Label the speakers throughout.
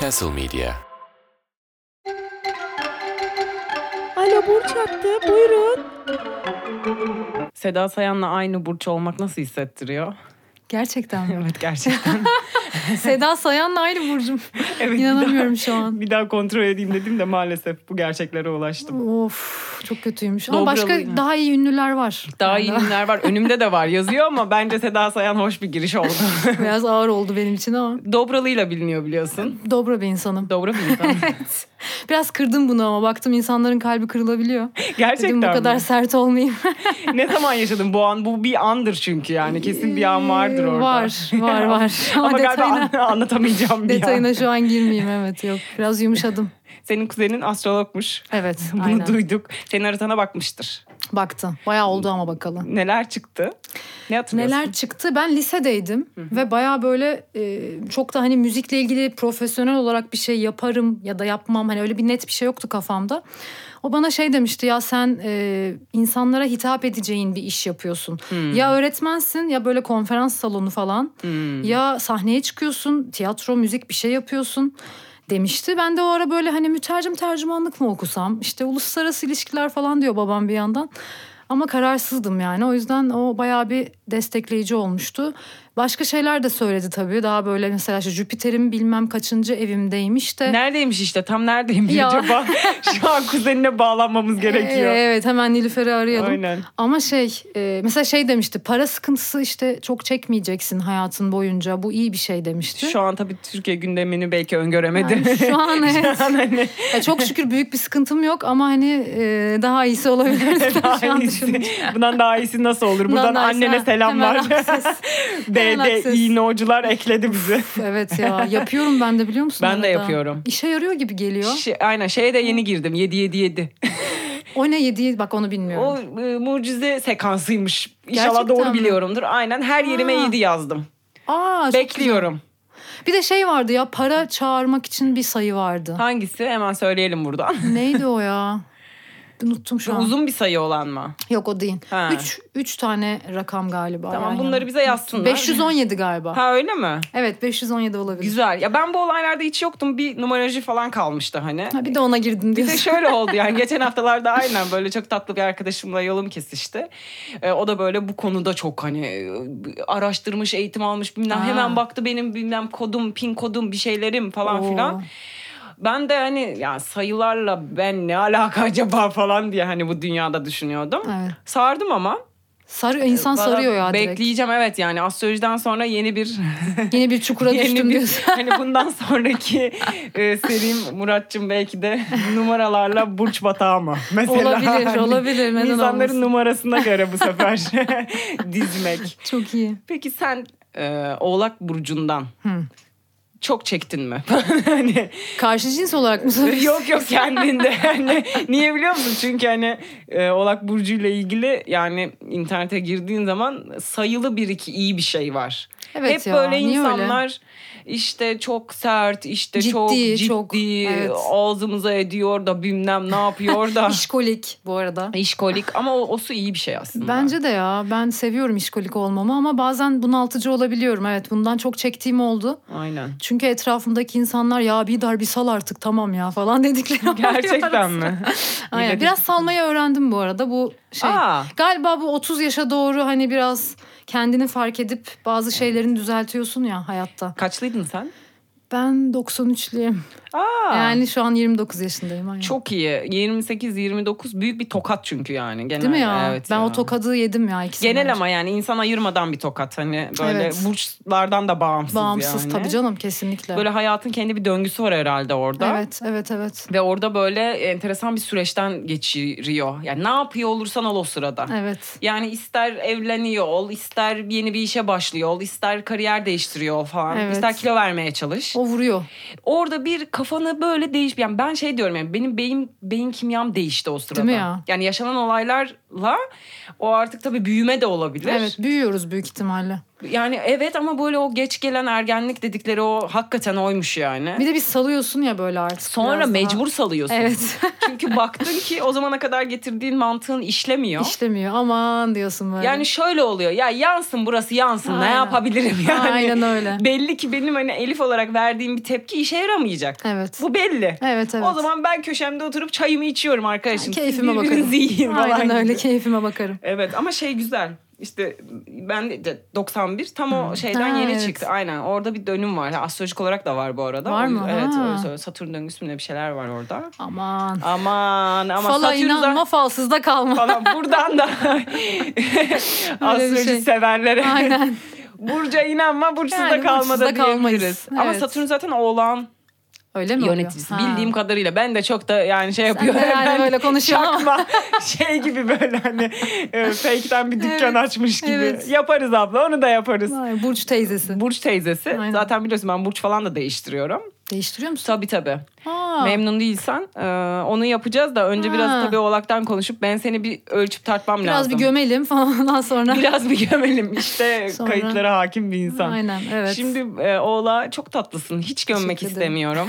Speaker 1: Castle Media.
Speaker 2: Alo Burç attı. Buyurun. Seda Sayan'la aynı Burç olmak nasıl hissettiriyor?
Speaker 3: Gerçekten mi?
Speaker 2: Evet gerçekten.
Speaker 3: Seda Sayan'la aynı burcum.
Speaker 2: evet,
Speaker 3: İnanamıyorum şu
Speaker 2: Bir daha,
Speaker 3: an.
Speaker 2: bir daha kontrol edeyim dedim de maalesef bu gerçeklere ulaştım.
Speaker 3: Of çok kötüymüş. Ama
Speaker 2: Dobralı
Speaker 3: başka
Speaker 2: yine.
Speaker 3: daha iyi ünlüler var.
Speaker 2: Daha
Speaker 3: Yani
Speaker 2: iyi ünlüler var. Önümde de var yazıyor ama bence Seda Sayan hoş bir giriş oldu.
Speaker 3: Biraz ağır oldu benim için ama
Speaker 2: Dobralı'yla biliniyor biliyorsun.
Speaker 3: dobra bir insanım.
Speaker 2: Dobra bir insan.
Speaker 3: Biraz kırdım bunu ama baktım insanların kalbi kırılabiliyor.
Speaker 2: Gerçekten
Speaker 3: Dedim bu kadar
Speaker 2: mi?
Speaker 3: sert olmayayım.
Speaker 2: ne zaman yaşadın bu an? Bu bir andır çünkü yani. Kesin bir an vardır orada.
Speaker 3: Var var var. Ama,
Speaker 2: Ama, galiba
Speaker 3: detayına,
Speaker 2: an- anlatamayacağım bir an.
Speaker 3: detayına şu an girmeyeyim evet yok. Biraz yumuşadım.
Speaker 2: Senin kuzenin astrologmuş.
Speaker 3: Evet
Speaker 2: Bunu
Speaker 3: aynen.
Speaker 2: duyduk. Senin haritana bakmıştır.
Speaker 3: Baktı. Bayağı oldu ama bakalım.
Speaker 2: Neler çıktı? Ne hatırlıyorsun?
Speaker 3: Neler çıktı? Ben lisedeydim ve baya böyle e, çok da hani müzikle ilgili profesyonel olarak bir şey yaparım ya da yapmam hani öyle bir net bir şey yoktu kafamda. O bana şey demişti ya sen e, insanlara hitap edeceğin bir iş yapıyorsun. Ya öğretmensin ya böyle konferans salonu falan
Speaker 2: Hmm.
Speaker 3: ya sahneye çıkıyorsun tiyatro müzik bir şey yapıyorsun demişti. Ben de o ara böyle hani mütercim tercümanlık mı okusam işte uluslararası ilişkiler falan diyor babam bir yandan. Ama kararsızdım yani. O yüzden o bayağı bir destekleyici olmuştu. Başka şeyler de söyledi tabii. Daha böyle mesela işte Jüpiter'in bilmem kaçıncı evimdeymiş de.
Speaker 2: Neredeymiş işte tam neredeyim
Speaker 3: Ee, Ya.
Speaker 2: acaba? Şu an kuzenine bağlanmamız gerekiyor.
Speaker 3: Ee, evet hemen Nilüfer'i arayalım.
Speaker 2: Aynen.
Speaker 3: Ama şey e, mesela şey demişti para sıkıntısı işte çok çekmeyeceksin hayatın boyunca bu iyi bir şey demişti.
Speaker 2: Şu an tabii Türkiye gündemini belki öngöremedi.
Speaker 3: Yani şu an evet.
Speaker 2: Şu an hani
Speaker 3: Ya çok şükür büyük bir sıkıntım yok ama hani e, daha iyisi olabilir.
Speaker 2: hani daha
Speaker 3: Şu an
Speaker 2: iyisi-
Speaker 3: düşündüm.
Speaker 2: bundan daha iyisi nasıl olur? Buradan
Speaker 3: Bundan iyisi-
Speaker 2: annene
Speaker 3: ha,
Speaker 2: selamlar.
Speaker 3: hemen akses. Hemen
Speaker 2: DD
Speaker 3: akses.
Speaker 2: iğnocular ekledi bizi.
Speaker 3: evet ya yapıyorum ben de biliyor musun?
Speaker 2: Ben de
Speaker 3: arada?
Speaker 2: yapıyorum.
Speaker 3: İşe yarıyor gibi geliyor.
Speaker 2: Şey- aynen şeye de yeni girdim. 7 7 7.
Speaker 3: O ne yedi bak onu bilmiyorum.
Speaker 2: O e, mucize sekansıymış. İnşallah
Speaker 3: Gerçekten
Speaker 2: doğru
Speaker 3: mi?
Speaker 2: biliyorumdur. Aynen her yerime
Speaker 3: Ha.
Speaker 2: 7 yazdım.
Speaker 3: Aa, çok-
Speaker 2: Bekliyorum.
Speaker 3: bir de şey vardı ya para çağırmak için bir sayı vardı.
Speaker 2: Hangisi? Hemen söyleyelim buradan.
Speaker 3: Neydi o ya? Unuttum şu an.
Speaker 2: Uzun bir sayı olan mı?
Speaker 3: Yok o değil.
Speaker 2: Ha.
Speaker 3: 3 3 tane rakam galiba.
Speaker 2: Tamam
Speaker 3: yan
Speaker 2: bunları
Speaker 3: yana.
Speaker 2: bize yazsınlar.
Speaker 3: 517 galiba.
Speaker 2: Ha öyle mi?
Speaker 3: Evet 517 olabilir.
Speaker 2: Güzel. Ya ben bu olaylarda hiç yoktum. Bir numaracı falan kalmıştı hani.
Speaker 3: Ha, bir de ona girdim
Speaker 2: Bir de
Speaker 3: diyorsun.
Speaker 2: şöyle oldu yani geçen haftalarda aynen böyle çok tatlı bir arkadaşımla yolum kesişti. Ee, o da böyle bu konuda çok hani e, araştırmış, eğitim almış bilmem
Speaker 3: Ha.
Speaker 2: hemen baktı benim bilmem kodum, pin kodum bir şeylerim falan
Speaker 3: Oo.
Speaker 2: filan. Ben de hani ya sayılarla ben ne alaka acaba falan diye hani bu dünyada düşünüyordum.
Speaker 3: Evet.
Speaker 2: Sardım ama
Speaker 3: Sarıyor insan
Speaker 2: Valla
Speaker 3: sarıyor ya direkt.
Speaker 2: Bekleyeceğim evet yani astrolojiden sonra yeni bir
Speaker 3: Yeni bir çukura
Speaker 2: yeni
Speaker 3: düştüm
Speaker 2: bir
Speaker 3: diyorsun.
Speaker 2: hani bundan sonraki e, serim Muratçım belki de numaralarla burç batağı mı? Mesela
Speaker 3: Olabilir,
Speaker 2: hani
Speaker 3: olabilir. Neden
Speaker 2: İnsanların
Speaker 3: olmasın?
Speaker 2: numarasına göre bu sefer dizmek.
Speaker 3: Çok iyi.
Speaker 2: Peki sen e, Oğlak burcundan
Speaker 3: Hı.
Speaker 2: çok çektin mi? hani
Speaker 3: Karşı cins olarak mı soruyorsun?
Speaker 2: yok yok kendinde. Yani niye biliyor musun? Çünkü hani e, Oğlak burcuyla ilgili yani internete girdiğin zaman sayılı bir iki iyi bir şey var.
Speaker 3: Evet
Speaker 2: Hep
Speaker 3: ya,
Speaker 2: böyle
Speaker 3: niye öyle?
Speaker 2: insanlar işte çok sert, işte
Speaker 3: Ciddi,
Speaker 2: çok ciddi,
Speaker 3: çok, evet.
Speaker 2: ağzımıza ediyor da bilmem ne yapıyor da.
Speaker 3: İşkolik bu arada.
Speaker 2: İşkolik ama o, o su iyi bir şey aslında.
Speaker 3: Bence de ya ben seviyorum işkolik olmamı ama bazen bunaltıcı olabiliyorum. Evet bundan çok çektiğim oldu.
Speaker 2: Aynen.
Speaker 3: Çünkü etrafımdaki insanlar ya bir dar bir sal artık tamam ya falan dedikleri oluyor
Speaker 2: Gerçekten
Speaker 3: arası.
Speaker 2: mi?
Speaker 3: Aynen.
Speaker 2: Yine
Speaker 3: Biraz salmayı öğrendim bu arada bu şey.
Speaker 2: Aa.
Speaker 3: Galiba bu 30 yaşa doğru hani biraz kendini fark edip bazı şeylerini düzeltiyorsun ya hayatta.
Speaker 2: Kaçlıydın sen?
Speaker 3: Ben 93'lüyüm.
Speaker 2: Aa.
Speaker 3: Yani şu an 29 yaşındayım. Aynen.
Speaker 2: Çok iyi. 28-29 büyük bir tokat çünkü yani. Genel,
Speaker 3: Değil mi ya?
Speaker 2: Evet
Speaker 3: ben
Speaker 2: ya.
Speaker 3: o tokadı yedim ya ikisini.
Speaker 2: Genel ama yani insan ayırmadan bir tokat. Hani böyle
Speaker 3: Evet.
Speaker 2: burçlardan da bağımsız,
Speaker 3: Bağımsız
Speaker 2: yani.
Speaker 3: tabii canım kesinlikle.
Speaker 2: Böyle hayatın kendi bir döngüsü var herhalde orada.
Speaker 3: Evet evet evet.
Speaker 2: Ve orada böyle enteresan bir süreçten geçiriyor. Yani ne yapıyor olursan ol o sırada.
Speaker 3: Evet.
Speaker 2: Yani ister evleniyor ol, ister yeni bir işe başlıyor ol, ister kariyer değiştiriyor ol falan,
Speaker 3: Evet.
Speaker 2: ister kilo vermeye çalış.
Speaker 3: O vuruyor.
Speaker 2: Orada bir kafanı böyle değiş... Yani ben şey diyorum yani benim beyin beyin kimyam değişti o sırada.
Speaker 3: Değil mi ya?
Speaker 2: Yani yaşanan olaylarla o artık tabii büyüme de olabilir.
Speaker 3: Evet büyüyoruz büyük ihtimalle.
Speaker 2: Yani evet ama böyle o geç gelen ergenlik dedikleri o hakikaten oymuş yani.
Speaker 3: Bir de bir salıyorsun ya böyle artık.
Speaker 2: Sonra
Speaker 3: biraz daha.
Speaker 2: mecbur salıyorsun.
Speaker 3: Evet.
Speaker 2: Çünkü baktın ki o zamana kadar getirdiğin mantığın işlemiyor.
Speaker 3: İşlemiyor. Aman diyorsun böyle.
Speaker 2: Yani şöyle oluyor. Ya yansın burası yansın. Ne
Speaker 3: Aynen.
Speaker 2: yapabilirim yani?
Speaker 3: Aynen öyle.
Speaker 2: Belli ki benim hani Elif olarak verdiğim bir tepki işe yaramayacak.
Speaker 3: Evet.
Speaker 2: Bu belli.
Speaker 3: Evet evet.
Speaker 2: O zaman ben köşemde oturup çayımı içiyorum arkadaşım. Siz
Speaker 3: keyfime bakarım.
Speaker 2: birbirinizi yiyin falan
Speaker 3: Aynen
Speaker 2: gibi.
Speaker 3: öyle keyfime bakarım.
Speaker 2: Evet ama şey güzel. İşte ben de 91 tam o şeyden
Speaker 3: Ha,
Speaker 2: yeni
Speaker 3: evet.
Speaker 2: çıktı. Aynen orada bir dönüm var. Ha, Astrolojik olarak da var bu arada.
Speaker 3: Var
Speaker 2: O-
Speaker 3: mı?
Speaker 2: Evet.
Speaker 3: Ha.
Speaker 2: öyle söyle. Satürn döngüsü mü ne bir şeyler var orada.
Speaker 3: Aman.
Speaker 2: Aman ama
Speaker 3: Fala
Speaker 2: Satürn zaten-
Speaker 3: inanma falsızda kalma.
Speaker 2: falan buradan da astroloji
Speaker 3: şey.
Speaker 2: severlere.
Speaker 3: Aynen.
Speaker 2: Burca inanma burçsuz da
Speaker 3: Yani
Speaker 2: kalma
Speaker 3: burçsuz
Speaker 2: da
Speaker 3: da kalmayız.
Speaker 2: diyebiliriz. Ama
Speaker 3: Evet.
Speaker 2: Satürn zaten oğlan
Speaker 3: Öyle mi
Speaker 2: yöneticisi
Speaker 3: oluyor? Ha.
Speaker 2: bildiğim kadarıyla. Ben de çok da yani şey
Speaker 3: Sen
Speaker 2: yapıyorum.
Speaker 3: de yani böyle konuşuyorsun ama.
Speaker 2: Çakma şey gibi böyle hani e, fake'ten bir dükkan
Speaker 3: Evet,
Speaker 2: açmış gibi.
Speaker 3: evet.
Speaker 2: Yaparız abla onu da yaparız.
Speaker 3: Vay, Burç teyzesi.
Speaker 2: Burç teyzesi.
Speaker 3: Aynen.
Speaker 2: Zaten biliyorsun ben burç falan da değiştiriyorum.
Speaker 3: Değiştiriyor musun?
Speaker 2: Tabii tabii.
Speaker 3: Ha.
Speaker 2: Memnun değilsen e, onu yapacağız da önce
Speaker 3: Ha.
Speaker 2: biraz tabii oğlaktan konuşup ben seni bir ölçüp tartmam
Speaker 3: Biraz
Speaker 2: lazım.
Speaker 3: bir gömelim falan ondan sonra.
Speaker 2: Biraz bir gömelim işte
Speaker 3: Sonra-
Speaker 2: kayıtlara hakim bir insan.
Speaker 3: Aynen evet.
Speaker 2: Şimdi e, oğla çok tatlısın. Hiç gömmek
Speaker 3: Teşekkür ederim.
Speaker 2: istemiyorum.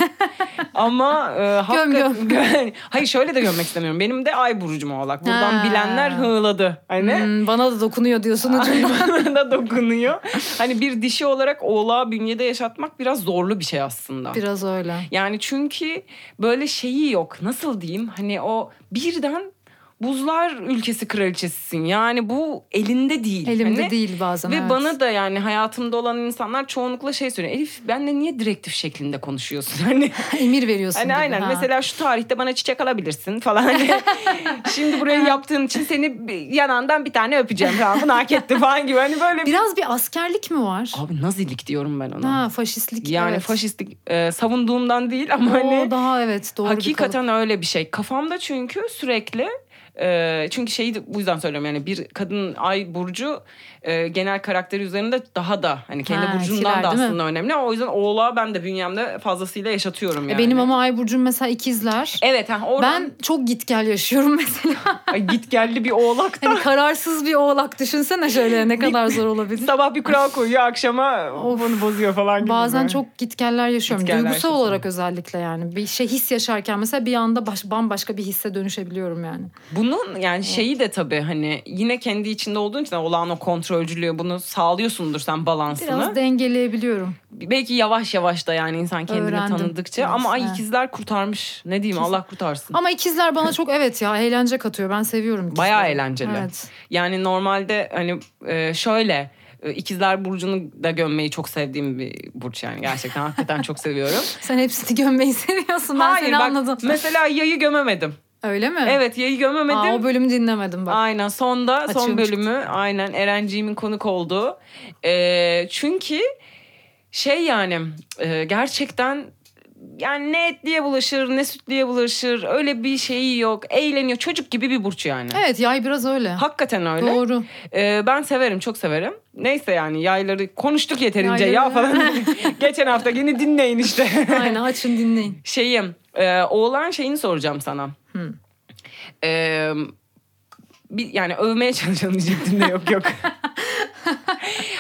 Speaker 2: Ama e, hakikaten- hani,
Speaker 3: Göm,
Speaker 2: Hayır şöyle de gömmek istemiyorum. Benim de ay burcum oğlak. Buradan
Speaker 3: Ha.
Speaker 2: bilenler hığladı. Hani
Speaker 3: Hmm, bana da dokunuyor diyorsun. ucundan.
Speaker 2: bana da dokunuyor. Hani bir dişi olarak oğlağı bünyede yaşatmak biraz zorlu bir şey aslında.
Speaker 3: Biraz öyle.
Speaker 2: Yani çünkü böyle şeyi yok. Nasıl diyeyim? Hani o birden buzlar ülkesi kraliçesisin. Yani bu elinde değil.
Speaker 3: Elimde
Speaker 2: Hani-
Speaker 3: değil bazen.
Speaker 2: Ve
Speaker 3: evet.
Speaker 2: bana da yani hayatımda olan insanlar çoğunlukla şey söylüyor. Elif benle niye direktif şeklinde konuşuyorsun? Hani,
Speaker 3: emir veriyorsun.
Speaker 2: hani
Speaker 3: gibi,
Speaker 2: aynen
Speaker 3: ha.
Speaker 2: mesela şu tarihte bana çiçek alabilirsin falan. Hani, Şimdi buraya yaptığın için seni bir- yanağından bir tane öpeceğim falan. Bunu hak etti falan gibi. Hani böyle bir...
Speaker 3: Biraz bir askerlik mi var?
Speaker 2: Abi nazilik diyorum ben ona.
Speaker 3: Ha faşistlik.
Speaker 2: yani
Speaker 3: evet.
Speaker 2: faşistlik e, savunduğumdan değil ama hani...
Speaker 3: O daha evet doğru. bir kalıp.
Speaker 2: Hakikaten öyle bir şey. Kafamda çünkü sürekli e, çünkü şeyi de bu yüzden söylüyorum yani bir kadın ay burcu e, genel karakteri üzerinde daha da hani kendi
Speaker 3: Ha,
Speaker 2: burcundan
Speaker 3: etkiler,
Speaker 2: da
Speaker 3: değil mi?
Speaker 2: aslında önemli. O yüzden oğlağı ben de bünyemde fazlasıyla yaşatıyorum yani.
Speaker 3: E, Benim ama ay burcum mesela ikizler.
Speaker 2: Evet ha oradan
Speaker 3: Ben çok git gel yaşıyorum mesela.
Speaker 2: Ay, git geldi bir oğlak da
Speaker 3: Hani kararsız bir oğlak düşünsene şöyle ne kadar zor olabilir.
Speaker 2: sabah bir kural koyuyor akşama
Speaker 3: Of.
Speaker 2: onu bozuyor falan gibi.
Speaker 3: Bazen
Speaker 2: böyle.
Speaker 3: çok gitgeller yaşıyorum.
Speaker 2: Gitgeller
Speaker 3: Duygusal
Speaker 2: yaşıyorsun.
Speaker 3: olarak özellikle yani. Bir şey his yaşarken mesela bir anda baş, bambaşka bir hisse dönüşebiliyorum yani.
Speaker 2: Bunun yani şeyi de tabii hani yine kendi içinde olduğun için olağan o kontrolcülüğü bunu sağlıyorsundur sen balansını.
Speaker 3: Biraz dengeleyebiliyorum.
Speaker 2: belki yavaş yavaş da yani insan kendini
Speaker 3: Öğrendim.
Speaker 2: tanıdıkça
Speaker 3: Evet,
Speaker 2: ama ay
Speaker 3: evet.
Speaker 2: ikizler kurtarmış. Ne diyeyim Allah kurtarsın.
Speaker 3: Ama ikizler bana çok evet ya eğlence katıyor. Ben seviyorum ikizleri.
Speaker 2: Bayağı eğlenceli.
Speaker 3: Evet.
Speaker 2: Yani normalde hani e, şöyle e, ikizler burcunu da gömmeyi çok sevdiğim bir burç yani gerçekten hakikaten çok seviyorum.
Speaker 3: Sen hepsini gömmeyi seviyorsun. Ben seni anladım.
Speaker 2: mesela yayı gömemedim.
Speaker 3: Öyle mi?
Speaker 2: Evet yayı gömemedim.
Speaker 3: Aa, o bölümü dinlemedim bak.
Speaker 2: Aynen sonda son
Speaker 3: Açığım
Speaker 2: bölümü aynen Erenciğimin konuk olduğu. Ee, çünkü şey yani e, gerçekten yani ne etliye bulaşır ne sütliye bulaşır öyle bir şeyi yok. Eğleniyor çocuk gibi bir burç yani.
Speaker 3: Evet yay biraz öyle.
Speaker 2: Hakikaten öyle.
Speaker 3: Doğru.
Speaker 2: Ee, ben severim çok severim. Neyse yani yayları konuştuk yeterince ya
Speaker 3: Yayları-
Speaker 2: falan. Geçen hafta yine dinleyin işte.
Speaker 3: Aynen açın dinleyin.
Speaker 2: Şeyim, e, oğlan şeyini soracağım sana.
Speaker 3: Hı.
Speaker 2: E, bir, yani övmeye çalışalım diyecektim de yok yok.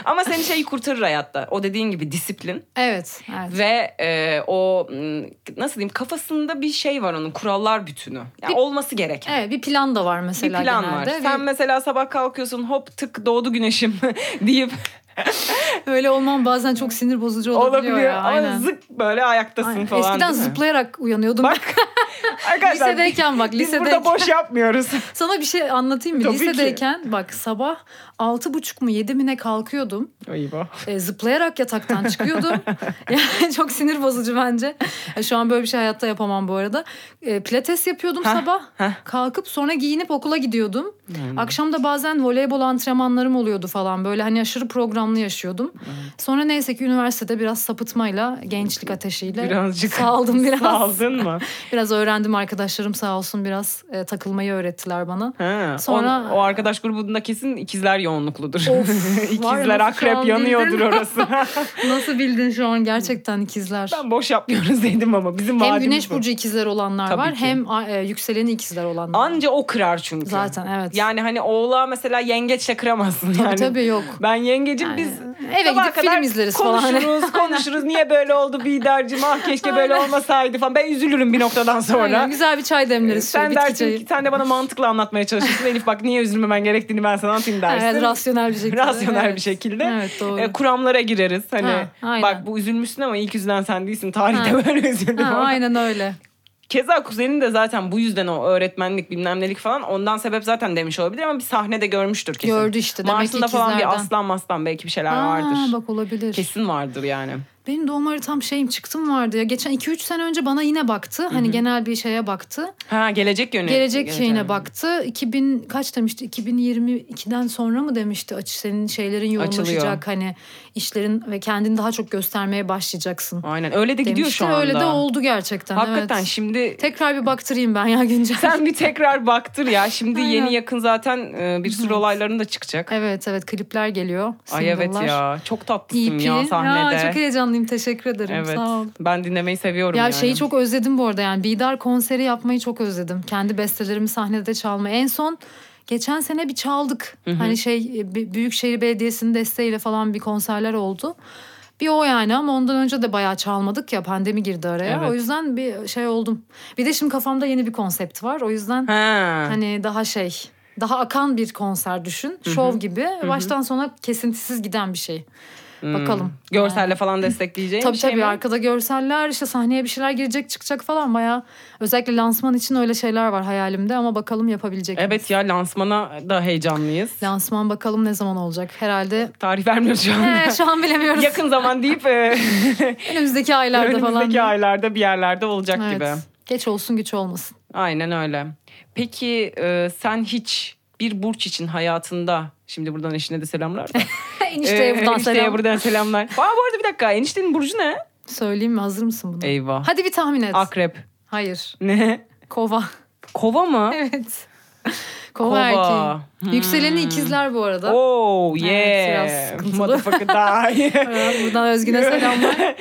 Speaker 2: Ama seni şey kurtarır hayatta. O dediğin gibi disiplin
Speaker 3: Evet. evet.
Speaker 2: ve e, o m, nasıl diyeyim kafasında bir şey var onun kurallar bütünü. Yani
Speaker 3: Bir-
Speaker 2: olması gereken.
Speaker 3: Evet bir plan da var
Speaker 2: Bir
Speaker 3: mesela
Speaker 2: plan var.
Speaker 3: genelde. Ve
Speaker 2: Sen mesela sabah kalkıyorsun hop tık doğdu güneşim deyip
Speaker 3: Öyle olmam bazen çok sinir bozucu olabiliyor,
Speaker 2: olabiliyor.
Speaker 3: ya.
Speaker 2: Ama
Speaker 3: Aynen.
Speaker 2: zık böyle ayaktasın
Speaker 3: Aynen.
Speaker 2: falan.
Speaker 3: Eskiden
Speaker 2: değil mi?
Speaker 3: zıplayarak uyanıyordum.
Speaker 2: Bak arkadaşlar
Speaker 3: lisedeyken bak
Speaker 2: biz
Speaker 3: lisedeyken.
Speaker 2: burada boş yapmıyoruz.
Speaker 3: Sana bir şey anlatayım mı?
Speaker 2: Tabii ki.
Speaker 3: lisedeyken bak sabah altı buçuk mu yedi mi ne kalkıyordum.
Speaker 2: Eyvah.
Speaker 3: E, zıplayarak yataktan çıkıyordum. yani çok sinir bozucu bence. E, şu an böyle bir şey hayatta yapamam bu arada. E, pilates yapıyordum
Speaker 2: Heh,
Speaker 3: sabah.
Speaker 2: heh.
Speaker 3: Kalkıp sonra giyinip okula gidiyordum.
Speaker 2: Hmm.
Speaker 3: Akşam da bazen voleybol antrenmanlarım oluyordu falan. Böyle hani aşırı programlı yaşıyordum.
Speaker 2: Hmm.
Speaker 3: Sonra neyse ki üniversitede biraz sapıtmayla, gençlik ateşiyle
Speaker 2: Birazcık.
Speaker 3: saldım biraz.
Speaker 2: Saldın mı?
Speaker 3: Biraz öğrendim arkadaşlarım sağ olsun biraz e, takılmayı öğrettiler bana.
Speaker 2: Ha.
Speaker 3: Sonra-
Speaker 2: Sonra o, arkadaş grubunda kesin ikizler yoğunlukludur.
Speaker 3: Of, var ya
Speaker 2: ikizler
Speaker 3: nasıl şu
Speaker 2: akrep
Speaker 3: an
Speaker 2: yanıyordur
Speaker 3: bildin?
Speaker 2: orası.
Speaker 3: Nasıl bildin şu an gerçekten ikizler?
Speaker 2: ben boş yapmıyoruz dedim ama bizim
Speaker 3: Hem
Speaker 2: vaadimiz
Speaker 3: güneş
Speaker 2: bu.
Speaker 3: burcu ikizler olanlar
Speaker 2: Tabii
Speaker 3: var
Speaker 2: ki.
Speaker 3: hem a- e, yükseleni ikizler olanlar. var.
Speaker 2: Anca o kırar çünkü.
Speaker 3: Zaten evet.
Speaker 2: Yani hani oğlağa mesela yengeçle kıramazsın
Speaker 3: tabii
Speaker 2: yani.
Speaker 3: tabii yok.
Speaker 2: Ben yengecim
Speaker 3: yani.
Speaker 2: biz
Speaker 3: Eve
Speaker 2: sabaha
Speaker 3: gidip film
Speaker 2: kadar
Speaker 3: izleriz falan.
Speaker 2: konuşuruz konuşuruz niye böyle oldu Bider'cim ah keşke böyle olmasaydı falan. Ben üzülürüm bir noktadan sonra. Ee,
Speaker 3: Aynen, güzel bir çay demleriz. şöyle,
Speaker 2: sen
Speaker 3: bitki
Speaker 2: dersin
Speaker 3: çayı.
Speaker 2: ki sen de bana mantıkla anlatmaya çalışırsın. Elif bak niye üzülmemen gerektiğini ben sana anlatayım dersin.
Speaker 3: Evet, rasyonel bir şekilde.
Speaker 2: Rasyonel
Speaker 3: Evet.
Speaker 2: bir şekilde.
Speaker 3: Evet doğru.
Speaker 2: E, kuramlara gireriz. Hani
Speaker 3: Ha, aynen.
Speaker 2: bak bu üzülmüşsün ama ilk üzülen sen değilsin. Tarihte
Speaker 3: Ha.
Speaker 2: böyle üzüldü
Speaker 3: ha,
Speaker 2: falan.
Speaker 3: aynen öyle.
Speaker 2: Keza kuzenin de zaten bu yüzden o öğretmenlik bilmem nelik falan ondan sebep zaten demiş olabilir ama bir sahnede görmüştür kesin.
Speaker 3: Gördü işte, demek ki
Speaker 2: Mars'ında falan bir
Speaker 3: ikizlerden.
Speaker 2: aslan maslan belki bir şeyler vardır.
Speaker 3: Aa, bak olabilir.
Speaker 2: Kesin vardır yani.
Speaker 3: Benim doğum haritam şeyim çıktım vardı ya. Geçen 2-3 sene önce bana yine baktı. Hani genel bir şeye baktı.
Speaker 2: Ha gelecek yönü.
Speaker 3: Gelecek şeyine
Speaker 2: yönü.
Speaker 3: baktı. 2000 kaç demişti? 2022'den sonra mı demişti? Aç senin şeylerin yoğunlaşacak
Speaker 2: Açılıyor.
Speaker 3: hani işlerin ve kendini daha çok göstermeye başlayacaksın.
Speaker 2: Aynen öyle de gidiyor
Speaker 3: demişti.
Speaker 2: şu anda.
Speaker 3: Öyle de oldu gerçekten.
Speaker 2: Hakikaten
Speaker 3: evet.
Speaker 2: şimdi
Speaker 3: Tekrar bir baktırayım ben ya güncel.
Speaker 2: sen bir tekrar baktır ya. Şimdi
Speaker 3: Aynen.
Speaker 2: yeni yakın zaten e, bir sürü olayların da çıkacak.
Speaker 3: Evet evet klipler geliyor.
Speaker 2: Ay evet
Speaker 3: single'lar.
Speaker 2: ya. Çok tatlısın
Speaker 3: EP.
Speaker 2: ya sahnede.
Speaker 3: Ya, E çok heyecanlıyım teşekkür ederim
Speaker 2: Evet.
Speaker 3: sağ ol.
Speaker 2: Ben dinlemeyi seviyorum
Speaker 3: Ya
Speaker 2: yani.
Speaker 3: şeyi çok özledim bu arada yani Bidar konseri yapmayı çok özledim. Kendi bestelerimi sahnede çalmayı. En son geçen sene bir çaldık. Hani şey e, B- Büyükşehir Belediyesi'nin desteğiyle falan bir konserler oldu. Bir o yani ama ondan önce de bayağı çalmadık ya pandemi girdi araya.
Speaker 2: Evet.
Speaker 3: O yüzden bir şey oldum. Bir de şimdi kafamda yeni bir konsept var. O yüzden
Speaker 2: Ha.
Speaker 3: hani daha şey daha akan bir konser düşün. Şov gibi. Baştan sona kesintisiz giden bir şey. Bakalım.
Speaker 2: Hmm. Görselle falan destekleyeceğin
Speaker 3: Tabii
Speaker 2: bir şey
Speaker 3: tabii
Speaker 2: mi?
Speaker 3: arkada görseller işte sahneye bir şeyler girecek çıkacak falan baya özellikle lansman için öyle şeyler var hayalimde ama bakalım yapabilecek mi?
Speaker 2: Evet ya lansmana da heyecanlıyız.
Speaker 3: Lansman bakalım ne zaman olacak herhalde.
Speaker 2: Tarih vermiyoruz şu anda.
Speaker 3: He, şu an bilemiyoruz.
Speaker 2: Yakın zaman deyip e,
Speaker 3: Önümüzdeki aylarda
Speaker 2: önümüzdeki
Speaker 3: falan.
Speaker 2: aylarda bir yerlerde olacak
Speaker 3: Evet.
Speaker 2: gibi.
Speaker 3: Geç olsun güç olmasın.
Speaker 2: Aynen öyle. Peki e, sen hiç bir burç için hayatında şimdi buradan eşine de selamlar. da.
Speaker 3: Ee, Enişteye
Speaker 2: E,
Speaker 3: buradan
Speaker 2: enişteye
Speaker 3: selam.
Speaker 2: buradan selamlar. Aa, bu arada bir dakika eniştenin burcu ne?
Speaker 3: Söyleyeyim mi hazır mısın buna?
Speaker 2: Eyvah.
Speaker 3: Hadi bir tahmin et.
Speaker 2: Akrep.
Speaker 3: Hayır.
Speaker 2: Ne?
Speaker 3: Kova.
Speaker 2: Kova mı?
Speaker 3: evet. Kova,
Speaker 2: Kova.
Speaker 3: erkeği.
Speaker 2: Hmm.
Speaker 3: Yükseleni ikizler bu arada.
Speaker 2: Oh yeah.
Speaker 3: Evet, biraz sıkıntılı.
Speaker 2: Motherfucker die.
Speaker 3: Evet, Buradan Özgün'e selamlar.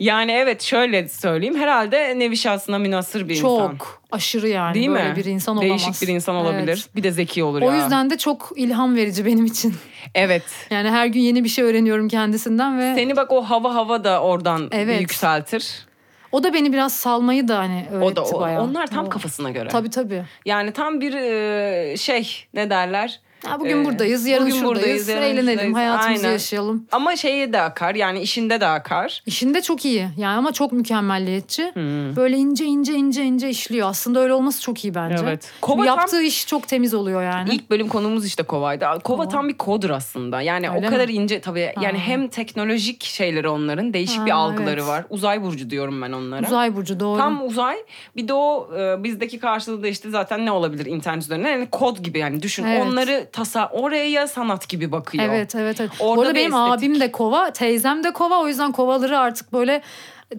Speaker 2: yani evet şöyle söyleyeyim. Herhalde nevi şahsına münasır bir
Speaker 3: Çok
Speaker 2: insan.
Speaker 3: aşırı yani
Speaker 2: Değil
Speaker 3: böyle
Speaker 2: mi?
Speaker 3: bir insan olamaz.
Speaker 2: Değişik bir insan
Speaker 3: Evet.
Speaker 2: olabilir. Bir de zeki olur
Speaker 3: O
Speaker 2: ya.
Speaker 3: yüzden de çok ilham verici benim için.
Speaker 2: Evet.
Speaker 3: Yani her gün yeni bir şey öğreniyorum kendisinden ve
Speaker 2: Seni bak o hava hava da oradan
Speaker 3: Evet.
Speaker 2: yükseltir.
Speaker 3: o da beni biraz salmayı da hani öğretti
Speaker 2: O da o-
Speaker 3: bayağı.
Speaker 2: onlar tam
Speaker 3: O-
Speaker 2: kafasına göre.
Speaker 3: Tabii tabii.
Speaker 2: Yani tam bir e, şey ne derler?
Speaker 3: Ya bugün
Speaker 2: Ee,
Speaker 3: buradayız, yarın
Speaker 2: bugün
Speaker 3: şuradayız,
Speaker 2: buradayız, yarın
Speaker 3: eğlenelim,
Speaker 2: şuradayız.
Speaker 3: hayatımızı
Speaker 2: Aynen.
Speaker 3: yaşayalım.
Speaker 2: Ama şeye de akar. Yani işinde de akar.
Speaker 3: İşinde çok iyi yani ama çok mükemmelliyetçi.
Speaker 2: Hmm.
Speaker 3: Böyle ince ince ince ince işliyor. Aslında öyle olması çok iyi bence.
Speaker 2: Evet.
Speaker 3: Çünkü
Speaker 2: Kova tam-
Speaker 3: yaptığı iş çok temiz oluyor yani.
Speaker 2: İlk bölüm konumuz işte Kova'ydı. Kova, tam bir kodur aslında. Yani
Speaker 3: Öyle
Speaker 2: o kadar
Speaker 3: mi?
Speaker 2: ince tabii. Yani hem teknolojik şeyleri onların değişik bir
Speaker 3: Ha,
Speaker 2: algıları
Speaker 3: evet.
Speaker 2: var. Uzay burcu diyorum ben onlara.
Speaker 3: Uzay burcu doğru.
Speaker 2: Tam uzay. Bir de o e, bizdeki karşılığı da işte zaten ne olabilir internet üzerinden? Yani kod gibi yani düşün.
Speaker 3: Evet.
Speaker 2: Onları tasa oraya sanat gibi bakıyor.
Speaker 3: Evet evet. evet.
Speaker 2: Orada
Speaker 3: Bu arada
Speaker 2: bir
Speaker 3: benim
Speaker 2: estetik.
Speaker 3: abim de kova, teyzem de kova. O yüzden kovaları artık böyle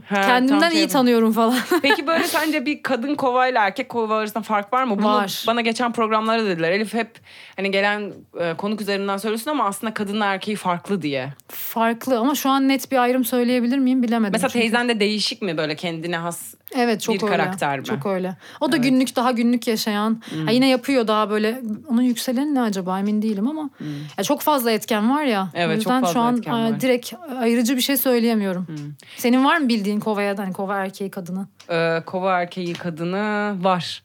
Speaker 2: Ha,
Speaker 3: kendimden
Speaker 2: tam
Speaker 3: iyi
Speaker 2: şey-
Speaker 3: tanıyorum falan.
Speaker 2: Peki böyle sence bir kadın kovayla erkek kova arasında fark var mı? Bunu
Speaker 3: Var.
Speaker 2: Bana geçen programlarda dediler. Elif hep hani gelen e, konuk üzerinden söylüyorsun ama aslında kadınla erkeği farklı diye.
Speaker 3: Farklı ama şu an net bir ayrım söyleyebilir miyim bilemedim.
Speaker 2: Mesela
Speaker 3: çünkü.
Speaker 2: teyzen de değişik mi böyle kendine has?
Speaker 3: Evet çok
Speaker 2: bir
Speaker 3: öyle.
Speaker 2: karakter mi? Hmm.
Speaker 3: Çok öyle. O da günlük daha günlük yaşayan. Ha, yine yapıyor daha böyle. Onun yükseleni ne acaba emin değilim ama. Ya çok fazla etken var ya.
Speaker 2: Hmm. Evet,
Speaker 3: o
Speaker 2: çok
Speaker 3: yüzden
Speaker 2: fazla
Speaker 3: şu an
Speaker 2: etken
Speaker 3: e,
Speaker 2: var. Hmm.
Speaker 3: direkt ayrıcı bir şey söyleyemiyorum. Senin var mı bildiğin kovaya hani kova erkeği kadını?
Speaker 2: Ee, kova erkeği kadını var.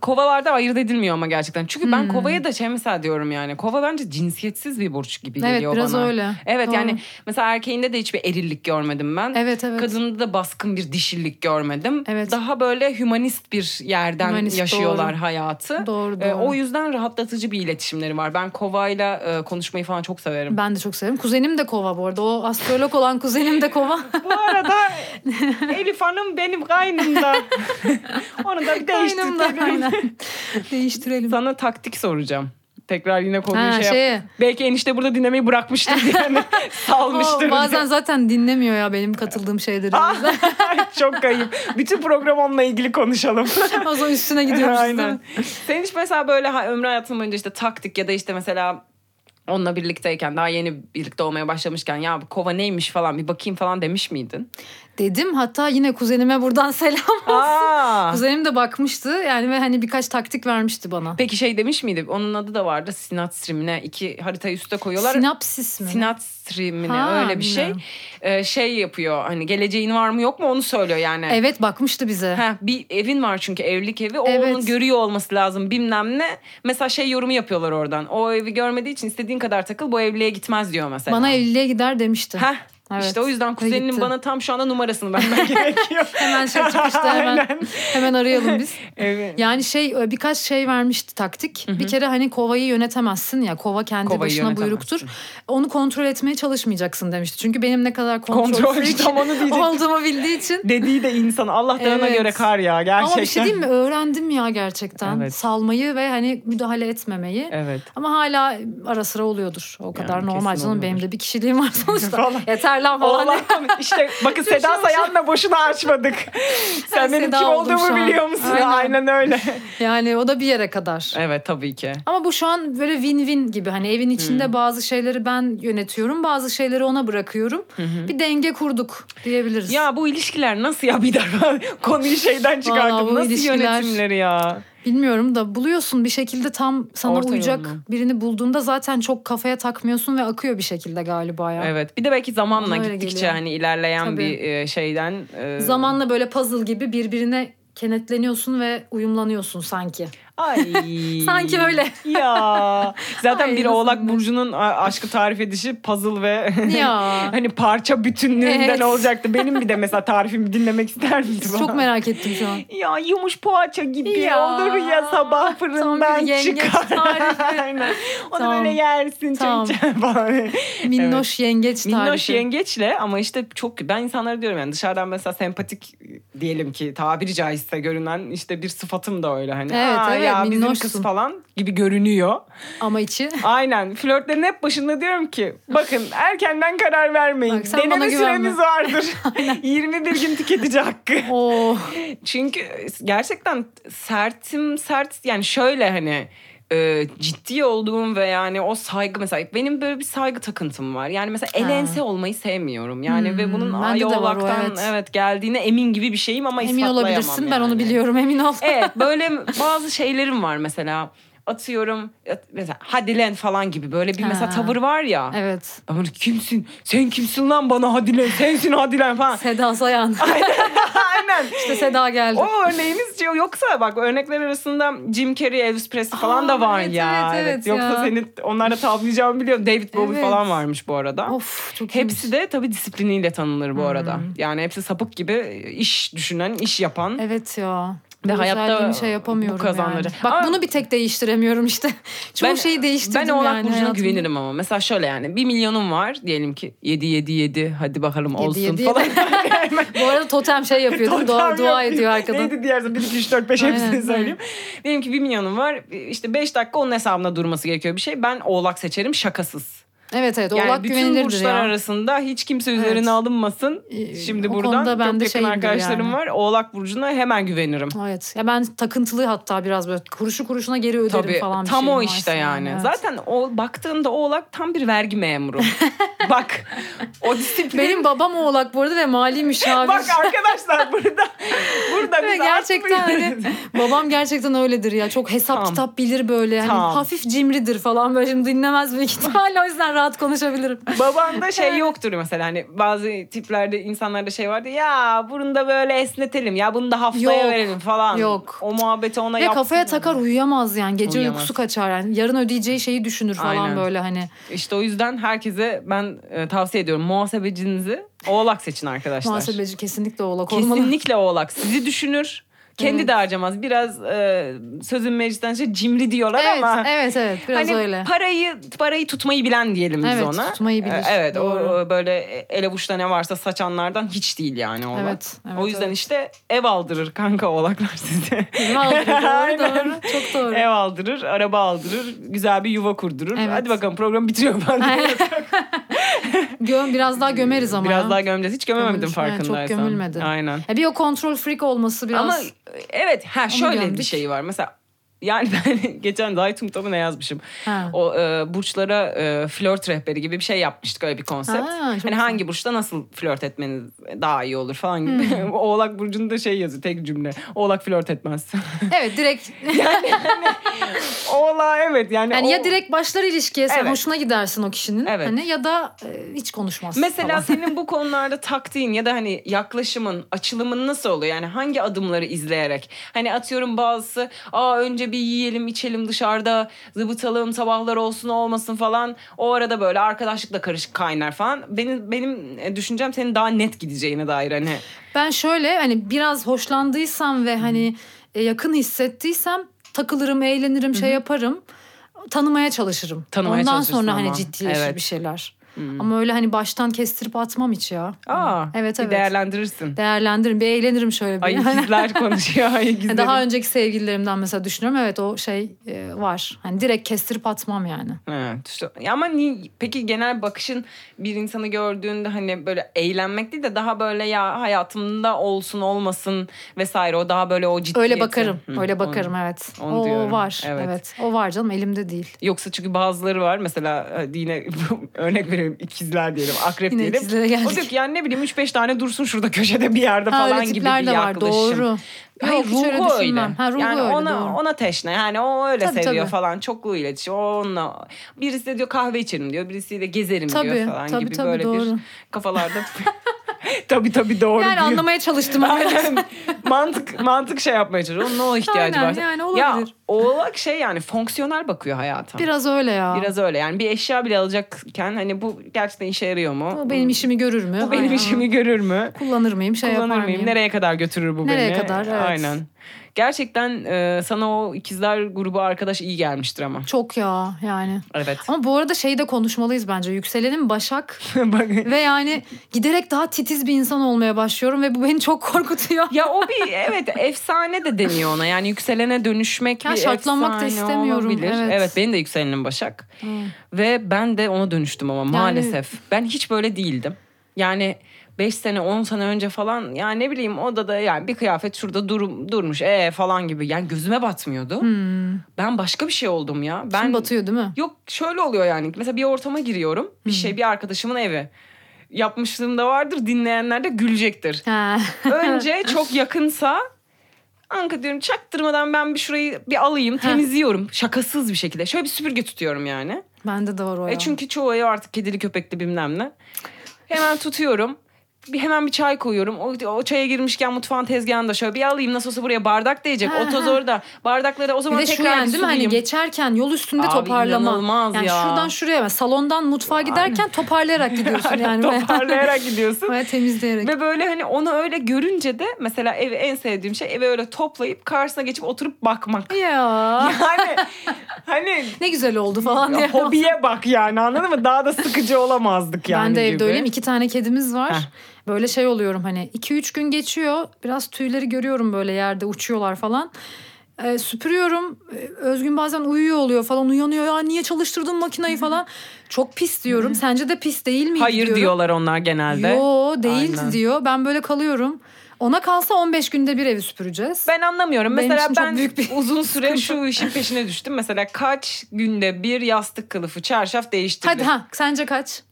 Speaker 2: Kovalarda ayırt edilmiyor ama gerçekten. Çünkü
Speaker 3: Hmm.
Speaker 2: ben kovaya da şey mesela diyorum yani. Kova bence cinsiyetsiz bir burç gibi
Speaker 3: Evet,
Speaker 2: geliyor
Speaker 3: biraz
Speaker 2: bana.
Speaker 3: öyle.
Speaker 2: Evet
Speaker 3: Doğru.
Speaker 2: yani mesela erkeğinde de hiçbir erillik görmedim ben.
Speaker 3: Evet, evet.
Speaker 2: Kadında da baskın bir dişillik görmedim.
Speaker 3: Evet.
Speaker 2: Daha böyle hümanist bir yerden
Speaker 3: Hümanist,
Speaker 2: yaşıyorlar
Speaker 3: doğru.
Speaker 2: hayatı.
Speaker 3: Doğru,
Speaker 2: Ee,
Speaker 3: doğru.
Speaker 2: o yüzden rahatlatıcı bir iletişimleri var. Ben kovayla e, konuşmayı falan çok severim.
Speaker 3: Ben de çok severim. Kuzenim de kova bu arada. O astrolog olan kuzenim de kova.
Speaker 2: Bu arada Elif Hanım benim kaynımda. Onu da bir
Speaker 3: Kaynım da
Speaker 2: değiştirtelim.
Speaker 3: aynen. Değiştirelim.
Speaker 2: Sana taktik soracağım. Tekrar yine konuyu
Speaker 3: Ha,
Speaker 2: şey,
Speaker 3: şeye.
Speaker 2: yap. Belki enişte burada dinlemeyi bırakmıştır yani.
Speaker 3: O
Speaker 2: Salmıştır.
Speaker 3: bazen zaten dinlemiyor ya benim katıldığım şeyleri. O yüzden-
Speaker 2: diye. Çok kayıp. Bütün program onunla ilgili konuşalım.
Speaker 3: o zaman üstüne gidiyoruz. değil mi?
Speaker 2: Aynen. Senin hiç mesela böyle ha, ömrü hayatın boyunca işte taktik ya da işte mesela onunla birlikteyken daha yeni birlikte olmaya başlamışken ya bu kova neymiş falan bir bakayım falan demiş miydin?
Speaker 3: dedim. Hatta yine kuzenime buradan selam.
Speaker 2: Aa.
Speaker 3: Kuzenim de bakmıştı yani ve hani birkaç taktik vermişti bana.
Speaker 2: Peki şey demiş miydi? Onun adı da vardı. Sinat streamine. iki haritayı üste koyuyorlar.
Speaker 3: Sinapsis mi?
Speaker 2: Sinat streamine
Speaker 3: Ha,
Speaker 2: öyle bir şey.
Speaker 3: bilmiyorum.
Speaker 2: Ee, şey yapıyor hani geleceğin var mı yok mu onu söylüyor yani.
Speaker 3: Evet bakmıştı bize.
Speaker 2: Heh, bir evin var çünkü evlilik evi. O
Speaker 3: Evet.
Speaker 2: onu görüyor olması lazım bilmem ne. Mesela şey yorumu yapıyorlar oradan. O evi görmediği için istediğin kadar takıl bu evliliğe gitmez diyor mesela.
Speaker 3: Bana evliliğe gider demişti.
Speaker 2: Heh.
Speaker 3: Evet.
Speaker 2: İşte o yüzden
Speaker 3: Ve
Speaker 2: kuzeninin
Speaker 3: gitti.
Speaker 2: bana tam şu anda numarasını vermen gerekiyor.
Speaker 3: Hemen şey çıkışta hemen,
Speaker 2: Aynen.
Speaker 3: hemen arayalım biz.
Speaker 2: Evet.
Speaker 3: Yani şey birkaç şey vermişti taktik. Bir kere hani kovayı yönetemezsin ya kova kendi
Speaker 2: Kovayı
Speaker 3: başına buyruktur. Onu kontrol etmeye çalışmayacaksın demişti. Çünkü benim ne kadar kontrol,
Speaker 2: Kontrol
Speaker 3: freak
Speaker 2: tam onu diyecektim.
Speaker 3: olduğumu bildiği için.
Speaker 2: Dediği de insan Allah dayana
Speaker 3: Evet.
Speaker 2: göre kar ya gerçekten.
Speaker 3: Ama bir şey diyeyim mi öğrendim ya gerçekten
Speaker 2: Evet.
Speaker 3: salmayı ve hani müdahale etmemeyi.
Speaker 2: Evet.
Speaker 3: Ama hala ara sıra oluyordur. O kadar
Speaker 2: Yani
Speaker 3: normal
Speaker 2: kesin
Speaker 3: canım benim
Speaker 2: oluyordur.
Speaker 3: de bir kişiliğim var sonuçta.
Speaker 2: Vallahi.
Speaker 3: Yeter lan falan. diye.
Speaker 2: Allah'ım işte bakın Seda Sayan'la boşuna açmadık. Sen
Speaker 3: Ben
Speaker 2: benim
Speaker 3: Seda
Speaker 2: kim
Speaker 3: oldum şu
Speaker 2: olduğumu
Speaker 3: an.
Speaker 2: biliyor musun? Aynen.
Speaker 3: Aynen.
Speaker 2: öyle.
Speaker 3: Yani o da bir yere kadar.
Speaker 2: Evet tabii ki.
Speaker 3: Ama bu şu an böyle win-win gibi hani evin içinde
Speaker 2: Hmm.
Speaker 3: bazı şeyleri ben yönetiyorum bazı şeyleri ona bırakıyorum. Bir denge kurduk diyebiliriz.
Speaker 2: Ya bu ilişkiler nasıl ya bir daha konuyu şeyden
Speaker 3: Vallahi
Speaker 2: çıkardım.
Speaker 3: bu
Speaker 2: Nasıl
Speaker 3: ilişkiler-
Speaker 2: yönetimleri ya?
Speaker 3: Bilmiyorum da buluyorsun bir şekilde tam sana
Speaker 2: Orta
Speaker 3: uyacak
Speaker 2: yolunu.
Speaker 3: birini bulduğunda zaten çok kafaya takmıyorsun ve akıyor bir şekilde galiba ya.
Speaker 2: Evet. Bir de belki zamanla
Speaker 3: Bana öyle
Speaker 2: gittikçe
Speaker 3: geliyor.
Speaker 2: hani ilerleyen
Speaker 3: Tabii.
Speaker 2: bir e, şeyden e,
Speaker 3: Zamanla böyle puzzle gibi birbirine kenetleniyorsun ve uyumlanıyorsun sanki.
Speaker 2: Ay.
Speaker 3: Sanki öyle.
Speaker 2: Ya. Zaten
Speaker 3: Ay,
Speaker 2: bir
Speaker 3: nasıl
Speaker 2: Oğlak
Speaker 3: ne?
Speaker 2: burcunun a- aşkı tarif edişi puzzle ve
Speaker 3: Ya.
Speaker 2: hani parça bütünlüğünden
Speaker 3: Evet.
Speaker 2: olacaktı. Benim bir de mesela tarifimi dinlemek ister misin?
Speaker 3: Çok merak ettim şu an.
Speaker 2: Ya yumuş poğaça gibi
Speaker 3: Ya.
Speaker 2: olur ya sabah
Speaker 3: Tam
Speaker 2: fırından
Speaker 3: bir yengeç
Speaker 2: çıkar.
Speaker 3: tarifi.
Speaker 2: Aynen. Onu
Speaker 3: Tam,
Speaker 2: böyle yersin
Speaker 3: tam.
Speaker 2: tam. falan.
Speaker 3: Minnoş yengeç tarifi.
Speaker 2: Minnoş yengeçle ama işte çok ben insanlara diyorum yani dışarıdan mesela sempatik diyelim ki tabiri caizse görünen işte bir sıfatım da öyle hani.
Speaker 3: Evet,
Speaker 2: "Aa
Speaker 3: evet,
Speaker 2: ya bizim
Speaker 3: minnoşsun."
Speaker 2: kız falan gibi görünüyor.
Speaker 3: Ama içi.
Speaker 2: Aynen flörtlerin hep başında diyorum ki bakın erkenden karar vermeyin.
Speaker 3: Bak, sen bana
Speaker 2: Deneme
Speaker 3: güvenme.
Speaker 2: süremiz vardır. 21 gün tüketici hakkı.
Speaker 3: Oo.
Speaker 2: Çünkü gerçekten sertim sert yani şöyle hani e, ciddi olduğum ve yani o saygı mesela benim böyle bir saygı takıntım var. Yani mesela el
Speaker 3: Ha.
Speaker 2: ense olmayı sevmiyorum. Yani ve
Speaker 3: Hmm,
Speaker 2: bunun
Speaker 3: bende de var o,
Speaker 2: ayolaktan
Speaker 3: evet.
Speaker 2: evet. geldiğine emin gibi bir şeyim ama
Speaker 3: Emin
Speaker 2: ispatlayamam
Speaker 3: olabilirsin ben
Speaker 2: yani.
Speaker 3: onu biliyorum emin ol.
Speaker 2: Evet böyle bazı şeylerim var mesela atıyorum at- mesela hadi len falan gibi böyle bir mesela
Speaker 3: Ha.
Speaker 2: tavır var ya.
Speaker 3: Evet.
Speaker 2: Ben böyle kimsin? Sen kimsin lan bana hadi len? Sensin hadi len falan.
Speaker 3: Seda Sayan.
Speaker 2: Aynen.
Speaker 3: işte Seda geldi.
Speaker 2: O örneğimiz yok. Yoksa bak örnekler arasında Jim Carrey, Elvis Presley falan
Speaker 3: Aa,
Speaker 2: da var
Speaker 3: evet,
Speaker 2: ya.
Speaker 3: evet, evet
Speaker 2: Yoksa
Speaker 3: ya.
Speaker 2: seni onlarla tavlayacağımı biliyorum. David Bowie
Speaker 3: Evet.
Speaker 2: falan varmış bu arada.
Speaker 3: Of çok iyiymiş.
Speaker 2: Hepsi de tabii disipliniyle tanınır bu arada. Yani hepsi sapık gibi iş düşünen, iş yapan.
Speaker 3: Evet ya.
Speaker 2: Ve
Speaker 3: Bu
Speaker 2: hayatta
Speaker 3: özelliğini şey yapamıyorum
Speaker 2: bu kazanları-
Speaker 3: yani. Bak
Speaker 2: Ama-
Speaker 3: bunu bir tek değiştiremiyorum işte. Çoğu şeyi değiştirdim
Speaker 2: Ben Oğlak
Speaker 3: yani
Speaker 2: Burcu'na
Speaker 3: hayatımda.
Speaker 2: güvenirim ama. Mesela şöyle yani bir milyonum var. Diyelim ki 7 7 7 hadi bakalım olsun
Speaker 3: yedi,
Speaker 2: falan.
Speaker 3: Bu arada totem şey yapıyor değil mi? Dua,
Speaker 2: Totem
Speaker 3: dua
Speaker 2: yok.
Speaker 3: ediyor arkadan.
Speaker 2: Neydi diğerse 1, 2, 3, 4, 5
Speaker 3: Aynen,
Speaker 2: hepsini
Speaker 3: aynen.
Speaker 2: söyleyeyim. Diyelim ki 1 milyonum var. İşte 5 dakika onun hesabına durması gerekiyor bir şey. Ben oğlak seçerim şakasız.
Speaker 3: Evet evet
Speaker 2: Yani
Speaker 3: oğlak
Speaker 2: bütün
Speaker 3: güvenilirdir
Speaker 2: burçlar
Speaker 3: ya.
Speaker 2: arasında hiç kimse
Speaker 3: Evet.
Speaker 2: üzerine alınmasın.
Speaker 3: Ee,
Speaker 2: Şimdi
Speaker 3: o
Speaker 2: buradan
Speaker 3: konuda ben
Speaker 2: çok
Speaker 3: de
Speaker 2: yakın
Speaker 3: şeyimdir
Speaker 2: arkadaşlarım
Speaker 3: yani.
Speaker 2: var. Oğlak Burcu'na hemen güvenirim.
Speaker 3: Evet. Ya ben takıntılı hatta biraz böyle kuruşu kuruşuna geri öderim
Speaker 2: Tabii
Speaker 3: falan. bir
Speaker 2: tam
Speaker 3: şeyim
Speaker 2: o
Speaker 3: varsa
Speaker 2: işte yani.
Speaker 3: evet.
Speaker 2: Zaten o baktığında oğlak tam bir vergi memuru. Bak o disiplin.
Speaker 3: Benim babam oğlak bu arada ve mali müşavir.
Speaker 2: Bak arkadaşlar burada burada
Speaker 3: Ve
Speaker 2: biz
Speaker 3: gerçekten hani
Speaker 2: artmıyoruz.
Speaker 3: babam gerçekten öyledir ya. Çok hesap
Speaker 2: Tam.
Speaker 3: kitap bilir böyle. Hani
Speaker 2: Tam.
Speaker 3: hafif cimridir falan böyle. Şimdi dinlemez büyük ihtimalle o yüzden rahat konuşabilirim.
Speaker 2: Babanda şey yoktur mesela hani bazı tiplerde insanlarda şey vardı ya bunu da böyle esnetelim ya bunu da haftaya
Speaker 3: Yok,
Speaker 2: verelim falan.
Speaker 3: yok.
Speaker 2: O muhabbeti ona
Speaker 3: Ve
Speaker 2: yap.
Speaker 3: kafaya takar uyuyamaz yani. Gece
Speaker 2: Uyuyamaz.
Speaker 3: uykusu kaçar yani. Yarın ödeyeceği şeyi düşünür falan
Speaker 2: Aynen.
Speaker 3: böyle hani.
Speaker 2: İşte o yüzden herkese ben e, tavsiye ediyorum muhasebecinizi oğlak seçin arkadaşlar.
Speaker 3: Muhasebeci kesinlikle oğlak olmalı.
Speaker 2: Kesinlikle oğlak sizi düşünür. Kendi
Speaker 3: Evet.
Speaker 2: de harcamaz. Biraz e, sözün meclisten şey cimri diyorlar
Speaker 3: Evet,
Speaker 2: ama.
Speaker 3: evet evet biraz
Speaker 2: hani
Speaker 3: öyle.
Speaker 2: parayı parayı tutmayı bilen diyelim biz
Speaker 3: Evet,
Speaker 2: ona.
Speaker 3: tutmayı bilir.
Speaker 2: Ee, Evet o,
Speaker 3: Doğru.
Speaker 2: o böyle ele avuçta ne varsa saçanlardan hiç değil yani oğlak.
Speaker 3: Evet, evet,
Speaker 2: o yüzden
Speaker 3: evet.
Speaker 2: işte ev aldırır kanka oğlaklar size.
Speaker 3: Vallahi doğru,
Speaker 2: Aynen. E,
Speaker 3: doğru. Çok doğru.
Speaker 2: ev aldırır, araba aldırır, güzel bir yuva kurdurur.
Speaker 3: Evet.
Speaker 2: Hadi bakalım program bitiriyor ben. de.
Speaker 3: Gö- biraz daha gömeriz ama. E,
Speaker 2: Biraz
Speaker 3: ya.
Speaker 2: daha gömeceğiz. Hiç gömemedim
Speaker 3: Gömülmüş. Evet, çok
Speaker 2: farkındaysan.
Speaker 3: gömülmedi.
Speaker 2: Aynen.
Speaker 3: Ya bir o kontrol freak olması biraz.
Speaker 2: Ama evet ha şöyle bir
Speaker 3: gömdük.
Speaker 2: şey var. Mesela yani ben geçen Zeitung'da mı ne yazmışım?
Speaker 3: Ha.
Speaker 2: O e, burçlara e, flört rehberi gibi bir şey yapmıştık öyle bir konsept.
Speaker 3: Ha, çok
Speaker 2: hani
Speaker 3: güzel.
Speaker 2: hangi burçta nasıl flört etmeniz daha iyi olur falan gibi.
Speaker 3: Hmm.
Speaker 2: Oğlak burcunda şey yazıyor tek cümle. Oğlak flört etmez.
Speaker 3: Evet direkt
Speaker 2: Oğlak evet yani.
Speaker 3: yani
Speaker 2: o-
Speaker 3: Hani ya direkt başlar ilişkiye sen
Speaker 2: Evet.
Speaker 3: hoşuna gidersin o kişinin
Speaker 2: Evet.
Speaker 3: hani ya da e, hiç konuşmazsın
Speaker 2: Mesela
Speaker 3: falan.
Speaker 2: senin bu konularda taktiğin ya da hani yaklaşımın, açılımın nasıl oluyor? Yani hangi adımları izleyerek? Hani atıyorum bazısı aa önce bir yiyelim, içelim dışarıda, zıbıtalım, sabahlar olsun olmasın falan. O arada böyle arkadaşlıkla karışık kaynar falan. Benim benim e, düşüncem senin daha net gideceğine dair hani.
Speaker 3: Ben şöyle hani biraz hoşlandıysam ve hani e, yakın hissettiysem takılırım, eğlenirim, şey yaparım. Tanımaya çalışırım.
Speaker 2: Tanımaya
Speaker 3: Ondan
Speaker 2: çalışırsın
Speaker 3: sonra
Speaker 2: ama.
Speaker 3: hani ciddileşir
Speaker 2: Evet. Hmm.
Speaker 3: bir şeyler. Ama öyle hani baştan kestirip atmam hiç ya.
Speaker 2: Aa,
Speaker 3: evet
Speaker 2: bir
Speaker 3: evet.
Speaker 2: değerlendirirsin.
Speaker 3: Değerlendiririm, bir eğlenirim şöyle bir.
Speaker 2: Ay ikizler konuşuyor. Ay
Speaker 3: Yani
Speaker 2: ikizlerin.
Speaker 3: Daha önceki sevgililerimden mesela düşünüyorum. Evet o şey e, var. Hani direkt kestirip atmam yani.
Speaker 2: Evet. işte. Ya ama ni- peki genel bakışın bir insanı gördüğünde hani böyle eğlenmek değil de daha böyle ya hayatımda olsun olmasın vesaire o daha böyle o ciddiyeti.
Speaker 3: Öyle bakarım.
Speaker 2: Hı,
Speaker 3: öyle
Speaker 2: onu-
Speaker 3: bakarım evet.
Speaker 2: onu
Speaker 3: o
Speaker 2: diyorum,
Speaker 3: var.
Speaker 2: evet.
Speaker 3: Evet. O var canım elimde değil.
Speaker 2: Yoksa çünkü bazıları var mesela hadi yine örnek verelim ikizler diyelim akrep
Speaker 3: Yine
Speaker 2: diyelim.
Speaker 3: ikizlere geldik.
Speaker 2: O diyor ki yani ne bileyim 3-5 tane dursun şurada köşede bir yerde
Speaker 3: Ha,
Speaker 2: falan
Speaker 3: öyle
Speaker 2: gibi bir
Speaker 3: tipler de var
Speaker 2: yaklaşım.
Speaker 3: doğru.
Speaker 2: Hayır
Speaker 3: Yok, hiç öyle
Speaker 2: ruhu öyle.
Speaker 3: düşünmem. Ha, ruhu
Speaker 2: yani
Speaker 3: öyle,
Speaker 2: ona
Speaker 3: doğru.
Speaker 2: ona teşne. Yani o öyle
Speaker 3: Tabii,
Speaker 2: seviyor
Speaker 3: tabii.
Speaker 2: falan. Çoklu iletişim. O onunla. Birisi de diyor kahve içerim diyor. Birisiyle gezerim diyor
Speaker 3: Tabii,
Speaker 2: falan
Speaker 3: tabii,
Speaker 2: gibi
Speaker 3: tabii,
Speaker 2: böyle bir
Speaker 3: doğru.
Speaker 2: kafalarda. tabii tabii doğru
Speaker 3: Yani
Speaker 2: diyor.
Speaker 3: anlamaya çalıştım.
Speaker 2: Aynen. mantık mantık şey yapmaya çalışıyor. Onun o ihtiyacı
Speaker 3: Aynen,
Speaker 2: var.
Speaker 3: yani
Speaker 2: ya
Speaker 3: olabilir.
Speaker 2: oğlak şey yani fonksiyonel bakıyor hayata. Biraz,
Speaker 3: Biraz öyle ya.
Speaker 2: öyle yani bir eşya bile alacakken hani bu gerçekten işe yarıyor mu? Hmm.
Speaker 3: Bu benim işimi görür mü?
Speaker 2: bu benim
Speaker 3: Aynen.
Speaker 2: işimi görür mü?
Speaker 3: kullanır mıyım? Şey
Speaker 2: kullanır
Speaker 3: yapar
Speaker 2: mıyım?
Speaker 3: mıyım?
Speaker 2: Nereye kadar götürür bu beni?
Speaker 3: Nereye kadar, evet.
Speaker 2: Aynen. Gerçekten e, sana o ikizler grubu arkadaş iyi gelmiştir ama.
Speaker 3: Çok ya yani.
Speaker 2: Evet.
Speaker 3: Ama bu arada şeyi de konuşmalıyız bence. Yükselenim Başak
Speaker 2: Bak-
Speaker 3: ve yani giderek daha titiz bir insan olmaya başlıyorum ve bu beni çok korkutuyor.
Speaker 2: ya o bir evet efsane de deniyor ona. Yani yükselene dönüşmek
Speaker 3: Ya
Speaker 2: bir
Speaker 3: şartlanmak da
Speaker 2: efsane
Speaker 3: istemiyorum,
Speaker 2: olabilir.
Speaker 3: evet.
Speaker 2: benim de yükselenim Başak. Ve ben de ona dönüştüm ama maalesef. Ben hiç böyle değildim. Yani 5 sene 10 sene önce falan yani ne bileyim odada yani bir kıyafet şurada durum, durmuş ee falan gibi. Yani gözüme batmıyordu. Ben başka bir şey oldum ya. Ben
Speaker 3: Şimdi Hmm, batıyor değil mi?
Speaker 2: Yok şöyle oluyor yani. Mesela bir ortama giriyorum. Bir şey bir arkadaşımın evi. Yapmışlığım da vardır. Dinleyenler de gülecektir.
Speaker 3: Ha.
Speaker 2: Önce çok yakınsa Anka diyorum çaktırmadan ben bir şurayı bir alayım temizliyorum şakasız bir şekilde. Şöyle bir süpürge tutuyorum yani.
Speaker 3: Bende de var o ya.
Speaker 2: E çünkü çoğu ev artık kedili köpekli bilmem ne. Hemen tutuyorum. Bir, hemen bir çay koyuyorum. O, o çaya girmişken mutfağın tezgahını da şöyle bir alayım. Nasıl olsa buraya bardak değecek.
Speaker 3: Ha,
Speaker 2: o toz
Speaker 3: ha.
Speaker 2: orada. Bardakları o
Speaker 3: bir
Speaker 2: zaman
Speaker 3: de şu
Speaker 2: tekrar
Speaker 3: yani
Speaker 2: bir
Speaker 3: değil mi? Hani
Speaker 2: sulayayım.
Speaker 3: geçerken yol üstünde
Speaker 2: Abi
Speaker 3: toparlama.
Speaker 2: inanılmaz
Speaker 3: Yani
Speaker 2: ya.
Speaker 3: şuradan şuraya salondan mutfağa giderken toparlayarak gidiyorsun yani.
Speaker 2: Toparlayarak gidiyorsun.
Speaker 3: Baya temizleyerek.
Speaker 2: Ve böyle hani onu öyle görünce de mesela evi en sevdiğim şey eve öyle toplayıp karşısına geçip oturup bakmak.
Speaker 3: Ya
Speaker 2: Yani hani
Speaker 3: ne güzel oldu falan diye.
Speaker 2: hobiye bak yani anladın mı? Daha da sıkıcı olamazdık yani
Speaker 3: ben de
Speaker 2: gibi.
Speaker 3: evde öyleyim. İki tane kedimiz var.
Speaker 2: Heh.
Speaker 3: Böyle şey oluyorum hani iki üç gün geçiyor. Biraz tüyleri görüyorum böyle yerde uçuyorlar falan. Ee, süpürüyorum. Ee, Özgün bazen uyuyor oluyor falan. Uyanıyor ya niye çalıştırdın makinayı falan. Çok pis diyorum. Sence de pis değil mi?
Speaker 2: Hayır diyorlar onlar genelde.
Speaker 3: Yo değil
Speaker 2: Aynen.
Speaker 3: diyor. Ben böyle kalıyorum. Ona kalsa 15 günde bir evi süpüreceğiz.
Speaker 2: Ben anlamıyorum.
Speaker 3: Benim
Speaker 2: Mesela
Speaker 3: için çok
Speaker 2: ben
Speaker 3: büyük bir
Speaker 2: uzun süre şu işin peşine düştüm. Mesela kaç günde bir yastık kılıfı, çarşaf değiştirdim.
Speaker 3: Hadi ha sence kaç?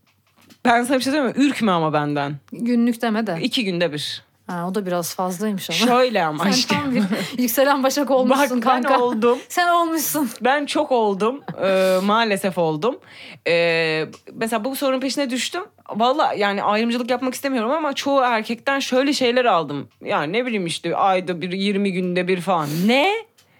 Speaker 2: Ben sana bir şey söyleyeyim mi? Ürkme ama benden.
Speaker 3: Günlük deme de.
Speaker 2: İki günde bir.
Speaker 3: Ha, o da biraz fazlaymış ama.
Speaker 2: Şöyle ama
Speaker 3: Sen
Speaker 2: işte.
Speaker 3: tam bir yükselen başak
Speaker 2: Bak
Speaker 3: olmuşsun
Speaker 2: ben
Speaker 3: kanka.
Speaker 2: oldum.
Speaker 3: Sen olmuşsun.
Speaker 2: Ben çok oldum. Ee, maalesef oldum. Ee, mesela bu sorunun peşine düştüm. Valla yani ayrımcılık yapmak istemiyorum ama çoğu erkekten şöyle şeyler aldım. Yani ne bileyim işte ayda bir 20 günde bir falan. Ne?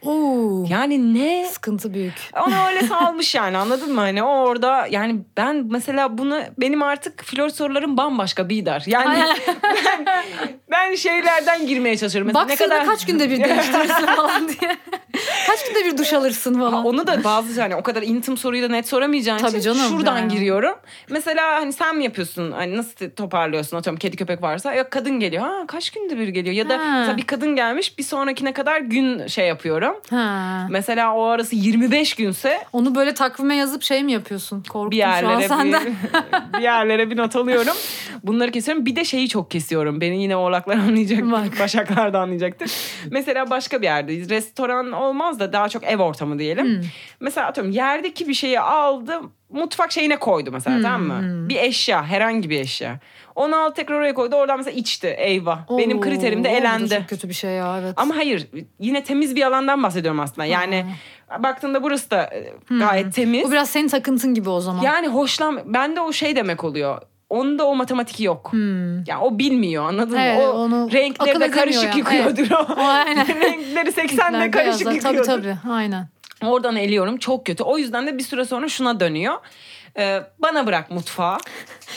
Speaker 3: Oo.
Speaker 2: Yani ne?
Speaker 3: Sıkıntı büyük.
Speaker 2: Onu öyle salmış yani anladın mı? Hani o orada yani ben mesela bunu benim artık flört sorularım bambaşka bir dar. Yani ben, ben şeylerden girmeye çalışıyorum. Mesela
Speaker 3: Bak ne kaç günde bir değiştirirsin falan diye. Kaç günde bir duş alırsın
Speaker 2: Ha,
Speaker 3: falan.
Speaker 2: onu da bazı hani o kadar intim soruyu da net soramayacağın için
Speaker 3: Tabii canım,
Speaker 2: şuradan
Speaker 3: yani.
Speaker 2: giriyorum. Mesela hani sen mi yapıyorsun? Hani nasıl toparlıyorsun? Atıyorum kedi köpek varsa. Ya kadın geliyor. Ha kaç günde bir geliyor? Ya da
Speaker 3: Ha.
Speaker 2: mesela bir kadın gelmiş bir sonrakine kadar gün şey yapıyorum.
Speaker 3: Ha.
Speaker 2: Mesela o arası 25 günse
Speaker 3: Onu böyle takvime yazıp şey mi yapıyorsun? Korktum
Speaker 2: bir
Speaker 3: şu an
Speaker 2: yerlere
Speaker 3: senden.
Speaker 2: bir, bir yerlere bir not alıyorum. Bunları kesiyorum. Bir de şeyi çok kesiyorum. Beni yine oğlaklar anlayacak.
Speaker 3: Bak.
Speaker 2: Başaklar da anlayacaktır. Mesela başka bir yerdeyiz. Restoran olmaz da daha çok ev ortamı diyelim.
Speaker 3: Hmm.
Speaker 2: Mesela atıyorum yerdeki bir şeyi aldı mutfak şeyine koydu mesela tamam mı?
Speaker 3: Hmm.
Speaker 2: Bir eşya herhangi bir eşya. Onu aldı tekrar oraya koydu oradan mesela içti eyvah. Benim
Speaker 3: Oo,
Speaker 2: kriterimde
Speaker 3: o da
Speaker 2: elendi.
Speaker 3: Çok kötü bir şey ya evet.
Speaker 2: Ama hayır yine temiz bir alandan bahsediyorum aslında. Yani baktığında burası da e, gayet
Speaker 3: Hmm.
Speaker 2: temiz.
Speaker 3: Bu biraz senin takıntın gibi o zaman.
Speaker 2: Yani hoşlan bende o şey demek oluyor. Onda o matematik yok. Yani o bilmiyor anladın
Speaker 3: Hmm. Evet,
Speaker 2: mı? O
Speaker 3: onu akıl
Speaker 2: renkleri de
Speaker 3: edemiyor
Speaker 2: karışık
Speaker 3: yani.
Speaker 2: yıkıyordur o.
Speaker 3: O aynen.
Speaker 2: renkleri 80'de
Speaker 3: Renkler
Speaker 2: karışık
Speaker 3: beyazlar.
Speaker 2: yıkıyordur.
Speaker 3: Tabii tabii aynen.
Speaker 2: Oradan eliyorum çok kötü. O yüzden de bir süre sonra şuna dönüyor. Ee, bana bırak mutfağı.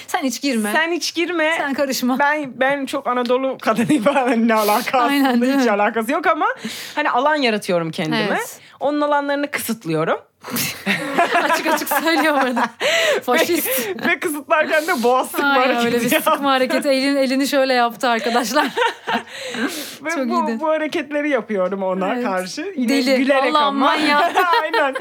Speaker 3: Sen hiç girme. Sen,
Speaker 2: Sen hiç girme.
Speaker 3: karışma.
Speaker 2: Ben ben çok Anadolu kadını falan ne alaka
Speaker 3: Aynen,
Speaker 2: aslında
Speaker 3: değil
Speaker 2: hiç
Speaker 3: mi?
Speaker 2: alakası yok ama hani alan yaratıyorum kendime.
Speaker 3: Evet.
Speaker 2: Onun alanlarını kısıtlıyorum.
Speaker 3: açık açık söylüyor burada. Faşist.
Speaker 2: Ve kısıtlarken de boğaz sıkma
Speaker 3: Aynen
Speaker 2: hareketi
Speaker 3: öyle bir
Speaker 2: yaptım.
Speaker 3: sıkma hareketi. Elini, elini şöyle yaptı arkadaşlar.
Speaker 2: Ve
Speaker 3: Çok
Speaker 2: bu,
Speaker 3: iyiydi.
Speaker 2: bu hareketleri yapıyorum ona
Speaker 3: Evet.
Speaker 2: karşı. Yine
Speaker 3: Deli.
Speaker 2: gülerek
Speaker 3: Allah'ım
Speaker 2: ama.
Speaker 3: manyak.
Speaker 2: Aynen.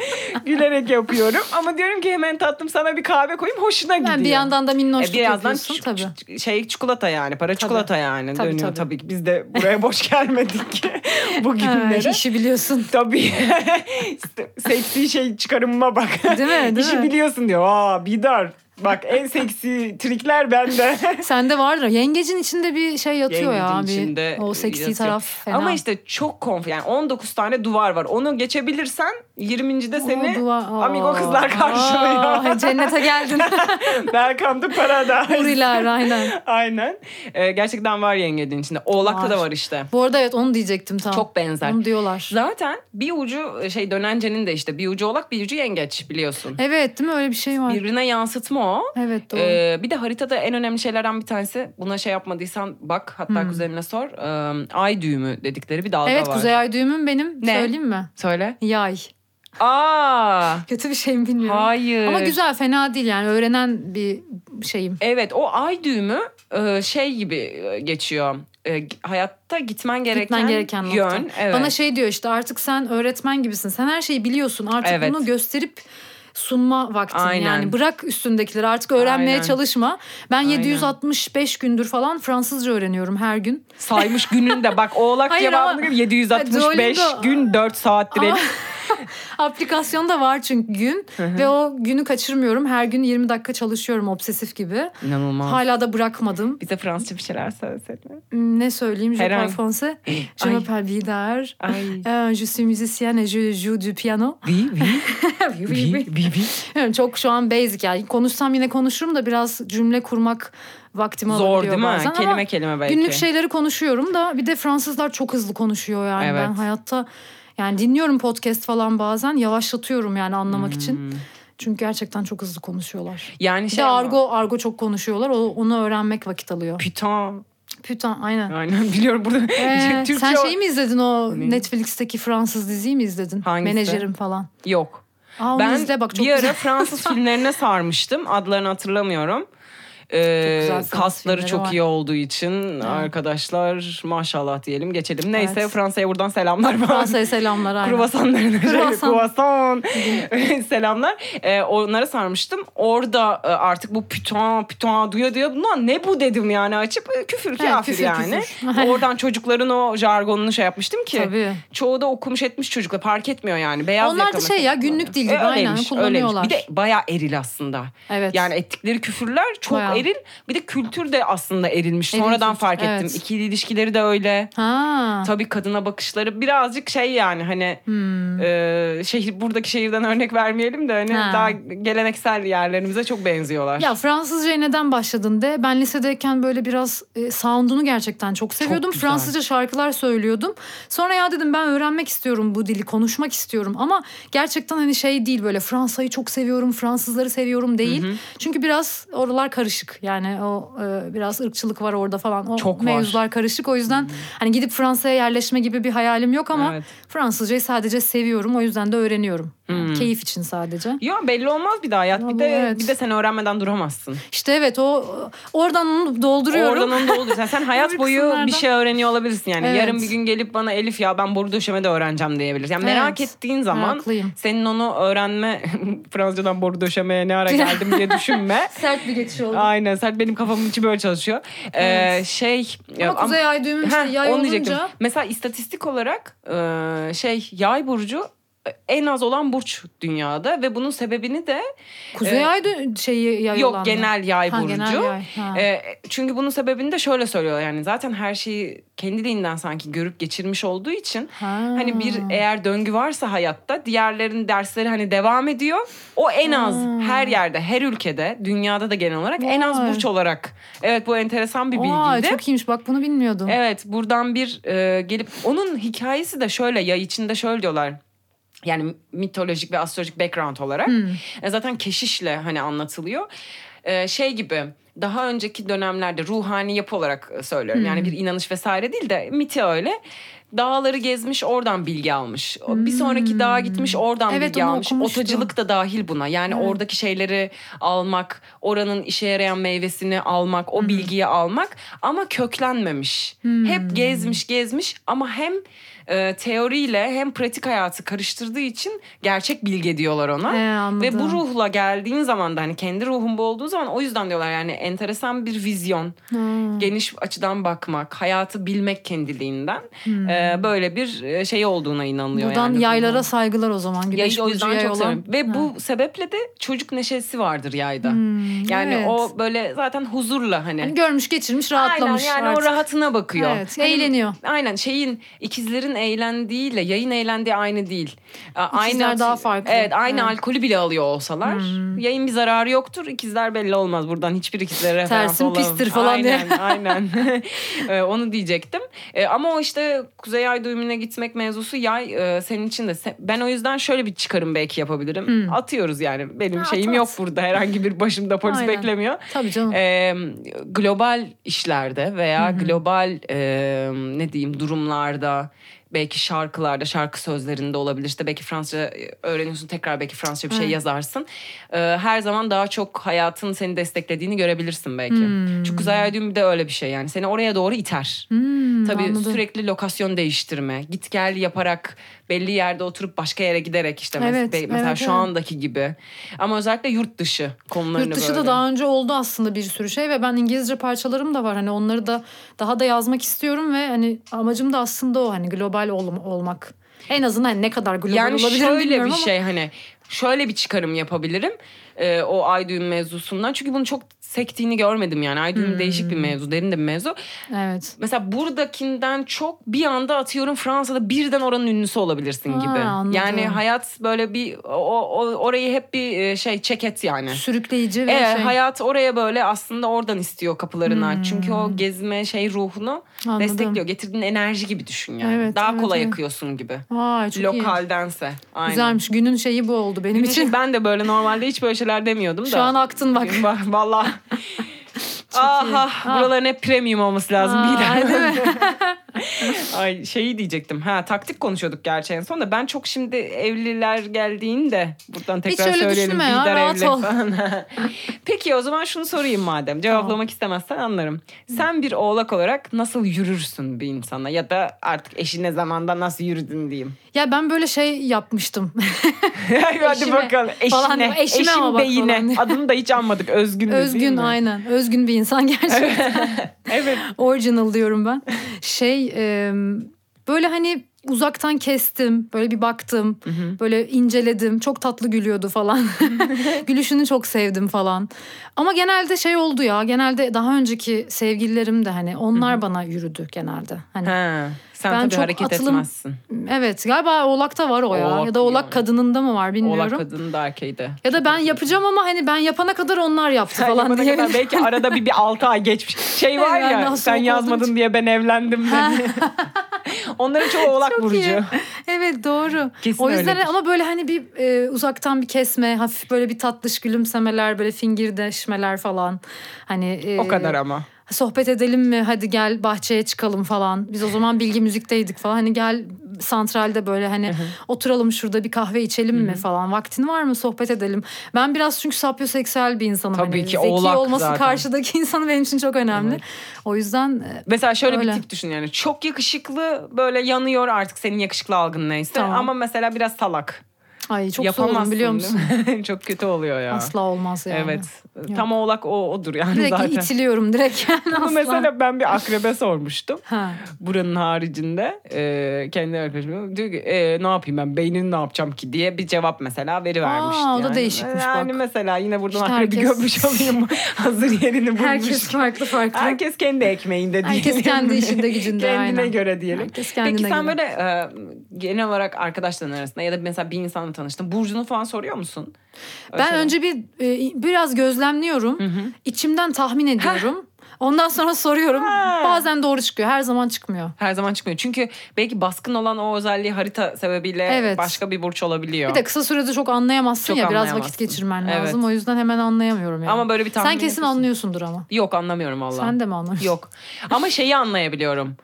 Speaker 2: Gülerek yapıyorum. Ama diyorum ki hemen tatlım sana bir kahve koyayım hoşuna gidiyor.
Speaker 3: Ben bir yandan da
Speaker 2: E,
Speaker 3: minnoşluk
Speaker 2: bir yandan
Speaker 3: yapıyorsun
Speaker 2: ç-
Speaker 3: tabii.
Speaker 2: ç- şey çikolata yani para çikolata yani
Speaker 3: Tabii,
Speaker 2: dönüyor
Speaker 3: tabii.
Speaker 2: tabii. ki biz de buraya boş gelmedik ki bu
Speaker 3: Ha,
Speaker 2: günlere.
Speaker 3: işi biliyorsun.
Speaker 2: Tabii. seksi şey çıkarımıma bak.
Speaker 3: Değil mi? Değil
Speaker 2: İşi
Speaker 3: mi?
Speaker 2: biliyorsun diyor. Aa bidar. Bak en seksi trikler bende.
Speaker 3: Sende vardır. Yengecin içinde bir şey yatıyor ya.
Speaker 2: Yengecin
Speaker 3: Bir,
Speaker 2: içinde
Speaker 3: o seksi
Speaker 2: yatıyor.
Speaker 3: taraf fena.
Speaker 2: Ama işte çok konf yani 19 tane duvar var. Onu geçebilirsen 20. de
Speaker 3: O
Speaker 2: seni
Speaker 3: dua- Aa,
Speaker 2: amigo kızlar karşılıyor.
Speaker 3: aa, Cennete geldin.
Speaker 2: Welcome to paradise.
Speaker 3: Huriler aynen.
Speaker 2: Aynen. Ee, gerçekten var yengenin içinde. Oğlak'ta
Speaker 3: Var.
Speaker 2: da var işte.
Speaker 3: Bu arada evet onu diyecektim tam.
Speaker 2: Çok benzer.
Speaker 3: Onu diyorlar.
Speaker 2: Zaten bir ucu şey dönencenin de işte bir ucu oğlak bir ucu yengeç biliyorsun.
Speaker 3: Evet değil mi öyle bir şey var.
Speaker 2: Birbirine yansıtma o.
Speaker 3: Evet doğru.
Speaker 2: Ee, bir de haritada en önemli şeylerden bir tanesi buna şey yapmadıysan bak hatta kuzenine sor. Ee, ay düğümü dedikleri bir dalga
Speaker 3: Hmm. evet
Speaker 2: var.
Speaker 3: kuzey ay düğümüm benim.
Speaker 2: Ne?
Speaker 3: Söyleyeyim mi?
Speaker 2: Söyle.
Speaker 3: Yay.
Speaker 2: Aa!
Speaker 3: Kötü bir şey mi bilmiyorum.
Speaker 2: Hayır.
Speaker 3: Ama güzel fena değil yani öğrenen bir şeyim.
Speaker 2: Evet o ay düğümü e, şey gibi e, geçiyor. E, g- hayatta gitmen gereken,
Speaker 3: Gitmen gereken nokta.
Speaker 2: yön. Evet.
Speaker 3: Bana şey diyor işte artık sen öğretmen gibisin. Sen her şeyi biliyorsun. Artık
Speaker 2: Evet.
Speaker 3: bunu gösterip sunma vaktin.
Speaker 2: Aynen.
Speaker 3: Yani bırak üstündekileri artık öğrenmeye
Speaker 2: Aynen.
Speaker 3: çalışma. Ben
Speaker 2: Aynen.
Speaker 3: 765 gündür falan Fransızca öğreniyorum her gün.
Speaker 2: saymış gününde bak oğlak
Speaker 3: Hayır ama-
Speaker 2: cevabını görüyor. 765
Speaker 3: Duolingo-
Speaker 2: gün 4 saattir. el-
Speaker 3: Aplikasyonu da var çünkü gün ve o günü kaçırmıyorum. Her gün 20 dakika çalışıyorum obsesif gibi.
Speaker 2: İnanılmaz.
Speaker 3: Hala da bırakmadım. Hmm,
Speaker 2: Bize Fransızca bir şeyler söylesene.
Speaker 3: Ne söyleyeyim? Je
Speaker 2: Herhangi-
Speaker 3: parle français. Je
Speaker 2: Ay.
Speaker 3: m'appelle Bidar.
Speaker 2: Ay.
Speaker 3: Euh, Je suis musicienne et je joue du piano.
Speaker 2: Vi, vi,
Speaker 3: Oui, oui,
Speaker 2: vi,
Speaker 3: oui.
Speaker 2: vi, vi.
Speaker 3: Bilmiyorum, çok şu an basic yani. Konuşsam yine konuşurum da biraz cümle kurmak vaktimi
Speaker 2: Zor
Speaker 3: alabiliyor
Speaker 2: değil mi?
Speaker 3: bazen. ama
Speaker 2: kelime kelime belki.
Speaker 3: günlük şey şeyleri konuşuyorum da bir de Fransızlar çok hızlı konuşuyor yani.
Speaker 2: Evet.
Speaker 3: Ben hayatta yani dinliyorum podcast falan bazen yavaşlatıyorum yani anlamak için.
Speaker 2: Hmm.
Speaker 3: Çünkü gerçekten çok hızlı konuşuyorlar.
Speaker 2: Yani
Speaker 3: Bir
Speaker 2: şey
Speaker 3: de
Speaker 2: ama-
Speaker 3: argo argo çok konuşuyorlar. O, onu öğrenmek vakit alıyor.
Speaker 2: Putain.
Speaker 3: Pütan aynen.
Speaker 2: Aynen biliyorum burada.
Speaker 3: Ee,
Speaker 2: Türkçe
Speaker 3: sen şeyi mi izledin o
Speaker 2: Ne?
Speaker 3: Netflix'teki Fransız diziyi mi izledin?
Speaker 2: Hangisi?
Speaker 3: Menajerim falan.
Speaker 2: Yok.
Speaker 3: Aa, onu
Speaker 2: ben
Speaker 3: izle bak çok
Speaker 2: bir ara
Speaker 3: güzel.
Speaker 2: Fransız filmlerine sarmıştım. Adlarını hatırlamıyorum. Ee,
Speaker 3: Çok güzel Fransız
Speaker 2: kasları
Speaker 3: filmleri
Speaker 2: çok
Speaker 3: var.
Speaker 2: iyi olduğu için arkadaşlar maşallah diyelim geçelim. Neyse
Speaker 3: Evet.
Speaker 2: Fransa'ya buradan selamlar falan.
Speaker 3: Fransa'ya selamlar aynen.
Speaker 2: Kruvasanlarına
Speaker 3: Kruvasan.
Speaker 2: kruvasan selamlar. Ee, onlara sarmıştım. Orada e, artık bu pütan pütan duya duya lan ne bu dedim yani açıp e, küfür kafir
Speaker 3: küfür,
Speaker 2: yani.
Speaker 3: küfür.
Speaker 2: Oradan çocukların o jargonunu şey yapmıştım ki.
Speaker 3: Tabii.
Speaker 2: Çoğu da okumuş etmiş çocuklar fark etmiyor yani. Beyaz
Speaker 3: Onlar da
Speaker 2: yaka
Speaker 3: şey ya,
Speaker 2: mesela
Speaker 3: günlük dil
Speaker 2: kullanıyor.
Speaker 3: gibi, aynen, kullanıyorlar.
Speaker 2: Bir de bayağı eril aslında.
Speaker 3: Evet.
Speaker 2: Yani ettikleri küfürler çok
Speaker 3: Bayağı.
Speaker 2: eril. Bir de kültür de aslında erilmiş.
Speaker 3: Eril
Speaker 2: Sonradan
Speaker 3: kültür,
Speaker 2: fark
Speaker 3: evet.
Speaker 2: ettim. İkili ilişkileri de öyle.
Speaker 3: Ha.
Speaker 2: Tabii kadına bakışları birazcık şey yani hani e, şehir buradaki şehirden örnek vermeyelim de hani
Speaker 3: Hmm. Ha.
Speaker 2: daha geleneksel yerlerimize çok benziyorlar.
Speaker 3: Ya Fransızcaya neden başladın de ben lisedeyken böyle biraz e, sound'unu gerçekten çok seviyordum.
Speaker 2: güzel.
Speaker 3: Fransızca şarkılar söylüyordum. Sonra ya dedim ben öğrenmek istiyorum bu dili, konuşmak istiyorum ama gerçekten hani şey değil böyle Fransa'yı çok seviyorum, Fransızları seviyorum değil. Çünkü biraz oralar karışık. Yani o e, biraz ırkçılık var orada falan. O
Speaker 2: Çok var.
Speaker 3: mevzular karışık. O yüzden hani gidip Fransa'ya yerleşme gibi bir hayalim yok ama
Speaker 2: Evet.
Speaker 3: Fransızcayı sadece seviyorum. O yüzden de öğreniyorum.
Speaker 2: Hmm.
Speaker 3: Keyif için sadece.
Speaker 2: Yo belli olmaz bir daha hayat.
Speaker 3: Vallahi
Speaker 2: Bir de
Speaker 3: evet.
Speaker 2: bir de sen öğrenmeden duramazsın.
Speaker 3: İşte evet o oradan onu dolduruyorum.
Speaker 2: Oradan onu da olur. Sen, sen hayat
Speaker 3: Öbür
Speaker 2: boyu
Speaker 3: kısımlardan-
Speaker 2: bir şey öğreniyor olabilirsin. Yani
Speaker 3: Evet.
Speaker 2: yarın bir gün gelip bana Elif ya ben boru döşeme de öğreneceğim diyebilir. Yani merak
Speaker 3: Evet.
Speaker 2: ettiğin zaman
Speaker 3: Meraklıyım.
Speaker 2: senin onu öğrenme Fransızcadan boru döşemeye ne ara geldim diye düşünme.
Speaker 3: Sert bir geçiş oldu.
Speaker 2: Aynen sen benim kafamın içi böyle çalışıyor. Ee,
Speaker 3: Evet.
Speaker 2: Şey ya,
Speaker 3: Ama
Speaker 2: am-
Speaker 3: kuzey ay düğümü işte
Speaker 2: Heh,
Speaker 3: yay
Speaker 2: onu
Speaker 3: olunca
Speaker 2: diyecektim. Mesela istatistik olarak e, şey yay burcu e, en az olan burç dünyada ve bunun sebebini de
Speaker 3: kuzey
Speaker 2: e,
Speaker 3: ay dü- şeyi yay olan
Speaker 2: yok
Speaker 3: mı?
Speaker 2: genel yay
Speaker 3: Ha,
Speaker 2: burcu.
Speaker 3: genel yay. Ha.
Speaker 2: E, çünkü bunun sebebini de şöyle söylüyor yani zaten her şeyi kendiliğinden sanki görüp geçirmiş olduğu için
Speaker 3: Ha.
Speaker 2: hani bir eğer döngü varsa hayatta diğerlerin dersleri hani devam ediyor. O en az
Speaker 3: Ha.
Speaker 2: her yerde, her ülkede, dünyada da genel olarak en az
Speaker 3: Vay.
Speaker 2: burç olarak. Evet bu enteresan bir
Speaker 3: Vay,
Speaker 2: bilgiydi.
Speaker 3: çok iyiymiş bak bunu bilmiyordum.
Speaker 2: Evet buradan bir e, gelip onun hikayesi de şöyle ya içinde şöyle diyorlar. Yani mitolojik ve astrolojik background olarak.
Speaker 3: Hmm.
Speaker 2: E, zaten keşişle hani anlatılıyor. E, şey gibi daha önceki dönemlerde ruhani yapı olarak e, söylüyorum.
Speaker 3: Hmm.
Speaker 2: Yani bir inanış vesaire değil de miti öyle. Dağları gezmiş oradan bilgi almış. O Bir sonraki dağa gitmiş oradan
Speaker 3: Evet,
Speaker 2: bilgi
Speaker 3: onu
Speaker 2: almış.
Speaker 3: okumuştum.
Speaker 2: Otacılık da dahil buna. Yani
Speaker 3: Evet.
Speaker 2: oradaki şeyleri almak, oranın işe yarayan meyvesini almak, o bilgiyi almak ama köklenmemiş.
Speaker 3: Hmm.
Speaker 2: Hep gezmiş gezmiş ama hem e, teoriyle hem pratik hayatı karıştırdığı için gerçek bilge diyorlar ona.
Speaker 3: Ee, anladım.
Speaker 2: Ve bu ruhla geldiğin zaman da hani kendi ruhun bu olduğu zaman o yüzden diyorlar yani enteresan bir vizyon,
Speaker 3: Ha.
Speaker 2: geniş açıdan bakmak, hayatı bilmek kendiliğinden e, böyle bir e, şey olduğuna inanılıyor.
Speaker 3: Hmm. Buradan
Speaker 2: yani.
Speaker 3: yaylara saygılar o zaman.
Speaker 2: Yayı
Speaker 3: Güneş
Speaker 2: o
Speaker 3: burcu
Speaker 2: yüzden
Speaker 3: yay
Speaker 2: çok
Speaker 3: olan.
Speaker 2: severim. Ve
Speaker 3: Ha.
Speaker 2: bu sebeple de çocuk neşesi vardır yayda.
Speaker 3: Hmm,
Speaker 2: Yani
Speaker 3: evet.
Speaker 2: o böyle zaten huzurla hani.
Speaker 3: Hani görmüş geçirmiş rahatlamış
Speaker 2: Aynen yani
Speaker 3: artık.
Speaker 2: o rahatına bakıyor.
Speaker 3: Evet,
Speaker 2: Hani-
Speaker 3: eğleniyor.
Speaker 2: Aynen şeyin ikizlerin eğlendiğiyle yayın eğlendiği aynı değil. A-
Speaker 3: İkizler daha farklı.
Speaker 2: Evet aynı
Speaker 3: Evet. Hmm.
Speaker 2: alkolü bile alıyor olsalar yayın bir zararı yoktur. İkizler belli olmaz buradan hiçbir ikizlere referans
Speaker 3: Tersim
Speaker 2: olamam.
Speaker 3: pistir falan diye.
Speaker 2: aynen, Aynen Ee, onu diyecektim. Ee, ama o işte kuzey ay düğümüne gitmek mevzusu yay e, senin için de. se- Ben o yüzden şöyle bir çıkarım belki yapabilirim. Atıyoruz yani benim
Speaker 3: Hmm. Ha,
Speaker 2: şeyim
Speaker 3: at,
Speaker 2: yok
Speaker 3: at.
Speaker 2: burada herhangi bir başımda polis
Speaker 3: Aynen.
Speaker 2: beklemiyor
Speaker 3: Tabii canım.
Speaker 2: e, global işlerde veya global e, ne diyeyim durumlarda belki şarkılarda şarkı sözlerinde olabilir işte belki Fransızca e, öğreniyorsun tekrar belki Fransızca bir şey
Speaker 3: Evet.
Speaker 2: yazarsın E, her zaman daha çok hayatın seni desteklediğini görebilirsin belki çünkü Kuzey Ay Düğümü de öyle bir şey yani seni oraya doğru iter
Speaker 3: Hmm,
Speaker 2: Tabii
Speaker 3: anladım.
Speaker 2: sürekli lokasyon değiştirme, git gel yaparak belli yerde oturup başka yere giderek işte mes-
Speaker 3: Evet,
Speaker 2: be- mesela
Speaker 3: evet,
Speaker 2: şu
Speaker 3: evet.
Speaker 2: andaki gibi. Ama özellikle yurt dışı konularını
Speaker 3: Yurt dışı
Speaker 2: böyle.
Speaker 3: da daha önce oldu aslında bir sürü şey ve ben İngilizce parçalarım da var. Hani onları da daha da yazmak istiyorum ve hani amacım da aslında o hani global ol- olmak. En azından hani ne kadar global
Speaker 2: Yani
Speaker 3: olabilirim
Speaker 2: şöyle
Speaker 3: bilmiyorum
Speaker 2: bir
Speaker 3: ama
Speaker 2: şey hani şöyle bir çıkarım yapabilirim e, o ay düğün mevzusundan. Çünkü bunu çok sektiğini görmedim yani. Ay düğün değişik
Speaker 3: Hmm.
Speaker 2: bir mevzu, derin de bir mevzu.
Speaker 3: evet.
Speaker 2: Mesela buradakinden çok bir anda atıyorum Fransa'da birden oranın ünlüsü olabilirsin
Speaker 3: Ha,
Speaker 2: gibi.
Speaker 3: anladım.
Speaker 2: Yani hayat böyle bir o, o orayı hep bir e, şey çeket yani.
Speaker 3: Sürükleyici ve
Speaker 2: Evet
Speaker 3: şey.
Speaker 2: Ee,
Speaker 3: Hmm.
Speaker 2: hayat oraya böyle aslında oradan istiyor kapılarını aç. Çünkü o gezme şey ruhunu
Speaker 3: Anladım.
Speaker 2: destekliyor. Getirdiğin enerji gibi düşün yani.
Speaker 3: Evet,
Speaker 2: Daha
Speaker 3: evet,
Speaker 2: kolay
Speaker 3: evet.
Speaker 2: yakıyorsun gibi.
Speaker 3: Vay çok iyi.
Speaker 2: Lokaldense. Aynen.
Speaker 3: Güzelmiş. Günün şeyi bu oldu benim için.
Speaker 2: Çünkü ben de böyle normalde hiç böyle şeyler demiyordum da.
Speaker 3: Şu an aktın bak.
Speaker 2: Bak, Valla. Aha,
Speaker 3: Ha.
Speaker 2: buraların hep premium olması lazım
Speaker 3: Aa,
Speaker 2: bir
Speaker 3: değil mi?
Speaker 2: Ay şeyi diyecektim. Ha taktik konuşuyorduk gerçi en son da ben çok şimdi evliler geldiğinde buradan tekrar
Speaker 3: öyle
Speaker 2: söyleyelim.
Speaker 3: düşünme ya,
Speaker 2: Bilder
Speaker 3: rahat
Speaker 2: evli
Speaker 3: ol.
Speaker 2: falan. Peki o zaman şunu sorayım madem. Cevaplamak istemezsen anlarım. Sen bir oğlak olarak nasıl yürürsün bir insana ya da artık eşine zamanda nasıl yürüdün diyeyim.
Speaker 3: ya ben böyle şey yapmıştım.
Speaker 2: Hadi
Speaker 3: Eşime
Speaker 2: bakalım. Eşine.
Speaker 3: falan diyor. Eşime
Speaker 2: Eşim
Speaker 3: ama bak
Speaker 2: de yine.
Speaker 3: falan diyor.
Speaker 2: Adını da hiç anmadık. Özgün de değil
Speaker 3: Özgün
Speaker 2: mi?
Speaker 3: aynen. Özgün bir insan gerçekten.
Speaker 2: Evet.
Speaker 3: Original diyorum ben. Şey e, böyle hani uzaktan kestim. Böyle bir baktım. Böyle inceledim. Çok tatlı gülüyordu falan. Gülüşünü çok sevdim falan. Ama genelde şey oldu ya. Genelde daha önceki sevgililerim de hani onlar bana yürüdü genelde. Hani
Speaker 2: Ha, sen
Speaker 3: Ben
Speaker 2: tabii
Speaker 3: çok
Speaker 2: hareket
Speaker 3: atılım-
Speaker 2: etmezsin.
Speaker 3: evet galiba oğlakta var o ya.
Speaker 2: Oğlak
Speaker 3: ya da oğlak
Speaker 2: yani.
Speaker 3: kadınında mı var bilmiyorum.
Speaker 2: Oğlak kadını da erkeği de.
Speaker 3: ya da ben yapacağım ama hani ben yapana kadar onlar yaptı
Speaker 2: Sen
Speaker 3: falan
Speaker 2: yapana
Speaker 3: diye.
Speaker 2: kadar belki arada bir, bir 6 ay geçmiş. Şey var
Speaker 3: Evet, ben
Speaker 2: ya
Speaker 3: daha
Speaker 2: sen
Speaker 3: soğuk olduğum
Speaker 2: yazmadın
Speaker 3: için.
Speaker 2: diye ben evlendim. dedi. Onların çoğu oğlak
Speaker 3: Çok
Speaker 2: burcu.
Speaker 3: iyi. Evet doğru.
Speaker 2: Kesin
Speaker 3: o yüzden
Speaker 2: öyledir.
Speaker 3: ama böyle hani bir e, uzaktan bir kesme, hafif böyle bir tatlış gülümsemeler, böyle fingirdeşmeler falan. Hani e,
Speaker 2: O kadar ama.
Speaker 3: Sohbet edelim mi? Hadi gel bahçeye çıkalım falan. Biz o zaman bilgi müzikteydik falan. Hani gel santralde böyle hani oturalım şurada bir kahve içelim mi falan. Vaktin var mı sohbet edelim. Ben biraz çünkü sapyoseksüel bir insanım.
Speaker 2: Tabii
Speaker 3: Hani
Speaker 2: ki,
Speaker 3: Zeki
Speaker 2: oğlak
Speaker 3: olması
Speaker 2: zaten.
Speaker 3: karşıdaki insanı benim için çok önemli. O yüzden e,
Speaker 2: Mesela şöyle
Speaker 3: Öyle.
Speaker 2: bir tip düşün yani çok yakışıklı böyle yanıyor artık senin yakışıklı algın neyse
Speaker 3: Tamam.
Speaker 2: ama mesela biraz salak.
Speaker 3: ay çok soğudum
Speaker 2: Yapamazsın
Speaker 3: biliyor
Speaker 2: değil
Speaker 3: musun?
Speaker 2: mi? çok kötü oluyor ya.
Speaker 3: Asla olmaz yani.
Speaker 2: Evet. Tam oğlak o odur yani
Speaker 3: Direkt
Speaker 2: zaten.
Speaker 3: itiliyorum direkt yani
Speaker 2: Bunu
Speaker 3: asla.
Speaker 2: mesela ben bir akrebe sormuştum.
Speaker 3: Ha.
Speaker 2: Buranın haricinde e, kendi arkadaşım diyor ki "E, ne yapayım ben beynini ne yapacağım ki diye bir cevap mesela verivermişti.
Speaker 3: Aa, o da
Speaker 2: yani.
Speaker 3: değişikmiş
Speaker 2: yani
Speaker 3: bak.
Speaker 2: mesela yine buradan
Speaker 3: İşte
Speaker 2: akrebi
Speaker 3: herkes-
Speaker 2: gömmüş olayım. Hazır yerini bulmuş.
Speaker 3: Herkes
Speaker 2: Herkes,
Speaker 3: farklı farklı.
Speaker 2: kendi ekmeğinde diyelim.
Speaker 3: Herkes kendi işinde gücünde,
Speaker 2: Kendine
Speaker 3: aynen.
Speaker 2: göre diyelim.
Speaker 3: Herkes kendine
Speaker 2: Peki sen
Speaker 3: göre.
Speaker 2: böyle e, genel olarak arkadaşların arasında ya da mesela bir insanla tanıştın. Burcunu falan soruyor musun?
Speaker 3: Ben
Speaker 2: Mesela.
Speaker 3: önce bir e, biraz gözlemliyorum. İçimden tahmin ediyorum. Ondan sonra soruyorum.
Speaker 2: Ha.
Speaker 3: Bazen doğru çıkıyor. Her zaman çıkmıyor.
Speaker 2: Her zaman çıkmıyor. Çünkü belki baskın olan o özelliği harita sebebiyle
Speaker 3: Evet.
Speaker 2: başka bir burç olabiliyor.
Speaker 3: Bir de kısa sürede çok anlayamazsın
Speaker 2: Çok
Speaker 3: ya. Biraz vakit
Speaker 2: anlayamazsın.
Speaker 3: geçirmen
Speaker 2: Evet.
Speaker 3: lazım. O yüzden hemen anlayamıyorum yani.
Speaker 2: Ama böyle bir tahmin
Speaker 3: Sen kesin
Speaker 2: yapıyorsun.
Speaker 3: anlıyorsundur ama.
Speaker 2: Yok anlamıyorum valla.
Speaker 3: Sen de mi anlıyorsun?
Speaker 2: Yok. Ama şeyi anlayabiliyorum.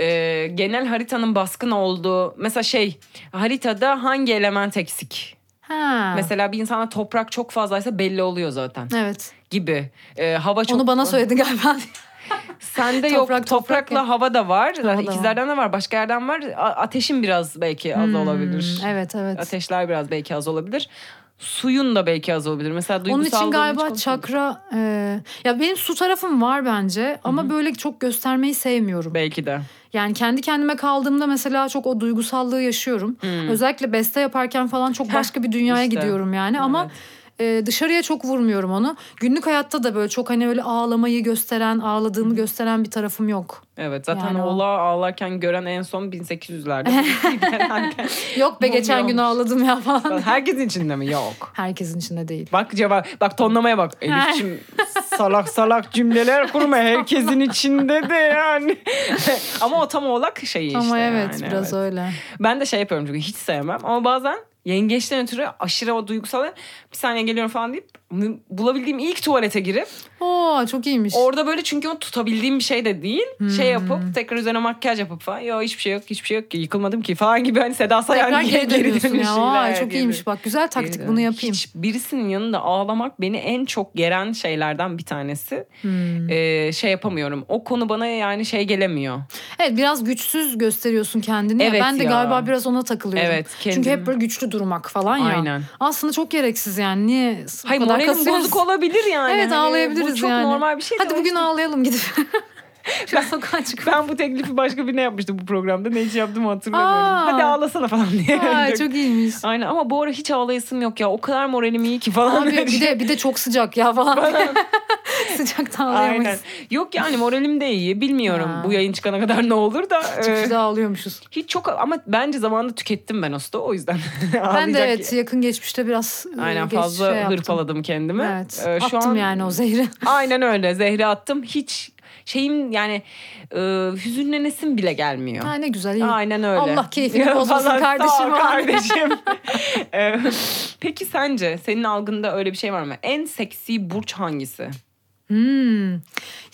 Speaker 2: Ee, genel haritanın baskın olduğu mesela şey haritada hangi element eksik?
Speaker 3: Ha.
Speaker 2: Mesela bir insana toprak çok fazlaysa belli oluyor zaten
Speaker 3: Evet.
Speaker 2: gibi. Ee, hava çok
Speaker 3: Onu bana söyledin galiba.
Speaker 2: Sende
Speaker 3: Toprak,
Speaker 2: yok.
Speaker 3: toprak
Speaker 2: Toprakla hava da var.
Speaker 3: da
Speaker 2: Zaten
Speaker 3: var. Hmm.
Speaker 2: ikizlerden de var. Başka yerden var. A- ateşin biraz belki az olabilir.
Speaker 3: evet evet.
Speaker 2: Ateşler biraz belki az olabilir. Suyun da belki az olabilir. Mesela duygusal
Speaker 3: Onun için
Speaker 2: durum hiç
Speaker 3: galiba
Speaker 2: konuşmadık.
Speaker 3: çakra e, ya benim su tarafım var bence ama böyle çok göstermeyi sevmiyorum.
Speaker 2: belki de.
Speaker 3: Yani kendi kendime kaldığımda mesela çok o duygusallığı yaşıyorum. Özellikle beste yaparken falan çok başka bir dünyaya
Speaker 2: Hmm. işte.
Speaker 3: gidiyorum yani ama e, dışarıya çok vurmuyorum onu. Günlük hayatta da böyle çok hani öyle ağlamayı gösteren, ağladığımı gösteren bir tarafım yok.
Speaker 2: Evet zaten
Speaker 3: Yani o-
Speaker 2: oğlağı ağlarken gören en son 1800'lerde. Genelde-
Speaker 3: Yok be geçen gün
Speaker 2: Bulmuyormuş.
Speaker 3: ağladım ya falan.
Speaker 2: Herkesin içinde mi? Yok.
Speaker 3: Herkesin içinde değil.
Speaker 2: Bak cevap, bak tonlamaya bak. Elif'cim salak salak cümleler kurma herkesin içinde de yani. Ama o tam oğlak şeyi işte.
Speaker 3: ama evet
Speaker 2: yani,
Speaker 3: biraz
Speaker 2: evet.
Speaker 3: öyle.
Speaker 2: Ben de şey yapıyorum çünkü hiç sevmem ama bazen yengeçten ötürü aşırı o duygusal bir saniye geliyorum falan deyip bulabildiğim ilk tuvalete girip
Speaker 3: Oo çok iyiymiş.
Speaker 2: Orada böyle çünkü onu tutabildiğim bir şey de değil. Şey
Speaker 3: Hmm.
Speaker 2: yapıp tekrar üzerine makyaj yapıp falan. Yo hiçbir şey yok hiçbir şey yok ki yıkılmadım ki falan gibi. Hani Seda Sayan
Speaker 3: Tekrar
Speaker 2: gibi
Speaker 3: geri dönüyorsun ya.
Speaker 2: dönüşüyle
Speaker 3: Vay, çok
Speaker 2: geri-
Speaker 3: iyiymiş bak güzel
Speaker 2: geri
Speaker 3: taktik
Speaker 2: dön-
Speaker 3: bunu yapayım.
Speaker 2: Hiç birisinin yanında ağlamak beni en çok geren şeylerden bir tanesi.
Speaker 3: Hmm.
Speaker 2: Ee, şey yapamıyorum. O konu bana yani şey gelemiyor.
Speaker 3: Evet biraz güçsüz gösteriyorsun kendini. ya.
Speaker 2: Evet
Speaker 3: ben de
Speaker 2: ya.
Speaker 3: galiba biraz ona takılıyorum.
Speaker 2: Evet,
Speaker 3: Çünkü
Speaker 2: kendimi-
Speaker 3: hep böyle güçlü durmak falan ya.
Speaker 2: Aynen.
Speaker 3: Aslında çok gereksiz yani. Niye bu
Speaker 2: Hayır
Speaker 3: kadar
Speaker 2: moralim
Speaker 3: kasıyoruz?
Speaker 2: bozuk olabilir yani.
Speaker 3: Evet
Speaker 2: Hani
Speaker 3: ağlayabiliriz
Speaker 2: Bu çok
Speaker 3: yani.
Speaker 2: normal bir şey. de
Speaker 3: Hadi
Speaker 2: o
Speaker 3: bugün
Speaker 2: işte-
Speaker 3: ağlayalım gidip. Şöyle sokağa çıkıp.
Speaker 2: Ben bu teklifi başka birine yapmıştım bu programda. Ne için yaptığımı hatırlamıyorum.
Speaker 3: Aa.
Speaker 2: Hadi ağlasana falan diye.
Speaker 3: Aa, çok iyiymiş.
Speaker 2: Aynen ama bu ara hiç ağlayasım yok ya. O kadar moralim iyi ki falan.
Speaker 3: Abi bir de bir de çok sıcak ya falan. Sıcakta
Speaker 2: Aynen.
Speaker 3: ağlayamayız.
Speaker 2: Yok yani moralim de iyi. Bilmiyorum
Speaker 3: Ha.
Speaker 2: bu yayın çıkana kadar ne olur da. e,
Speaker 3: Çıkışta ağlıyormuşuz.
Speaker 2: hiç çok ama bence zamanında tükettim ben o stoğu, o yüzden.
Speaker 3: Ben de
Speaker 2: Ağlayacak-
Speaker 3: evet yakın geçmişte biraz e,
Speaker 2: Aynen
Speaker 3: geç
Speaker 2: fazla
Speaker 3: şey yaptım.
Speaker 2: hırpaladım kendimi.
Speaker 3: Evet.
Speaker 2: E,
Speaker 3: attım yani o zehri.
Speaker 2: Aynen öyle. Zehri attım. Hiç şeyim yani e, hüzünlenesim bile gelmiyor.
Speaker 3: Ha, ne güzel iyi.
Speaker 2: Aynen öyle.
Speaker 3: Allah keyfini bozmasın
Speaker 2: Vallahi sağ
Speaker 3: kardeşim.
Speaker 2: ol kardeşim. Ee, Peki sence senin algında öyle bir şey var mı? En seksi burç hangisi?
Speaker 3: Hmm.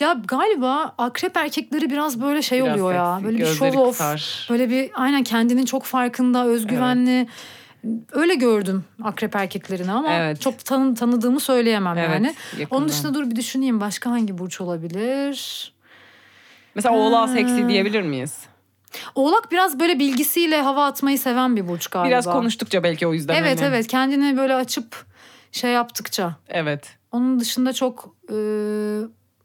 Speaker 3: Ya galiba akrep erkekleri biraz böyle şey
Speaker 2: Biraz
Speaker 3: oluyor ya.
Speaker 2: seksi,
Speaker 3: Böyle bir
Speaker 2: gözleri
Speaker 3: show off.
Speaker 2: kısar.
Speaker 3: Böyle bir aynen kendinin çok farkında, özgüvenli. Öyle gördüm akrep erkeklerini ama
Speaker 2: Evet.
Speaker 3: çok tanı, tanıdığımı söyleyemem
Speaker 2: Evet,
Speaker 3: yani.
Speaker 2: yakından.
Speaker 3: Onun dışında dur bir düşüneyim başka hangi burç olabilir?
Speaker 2: Mesela oğlağa
Speaker 3: Ha.
Speaker 2: seksi diyebilir miyiz?
Speaker 3: Oğlak biraz böyle bilgisiyle hava atmayı seven bir burç galiba.
Speaker 2: Biraz konuştukça belki o yüzden.
Speaker 3: Evet
Speaker 2: hani.
Speaker 3: evet kendini böyle açıp şey yaptıkça.
Speaker 2: Evet.
Speaker 3: Onun dışında çok e,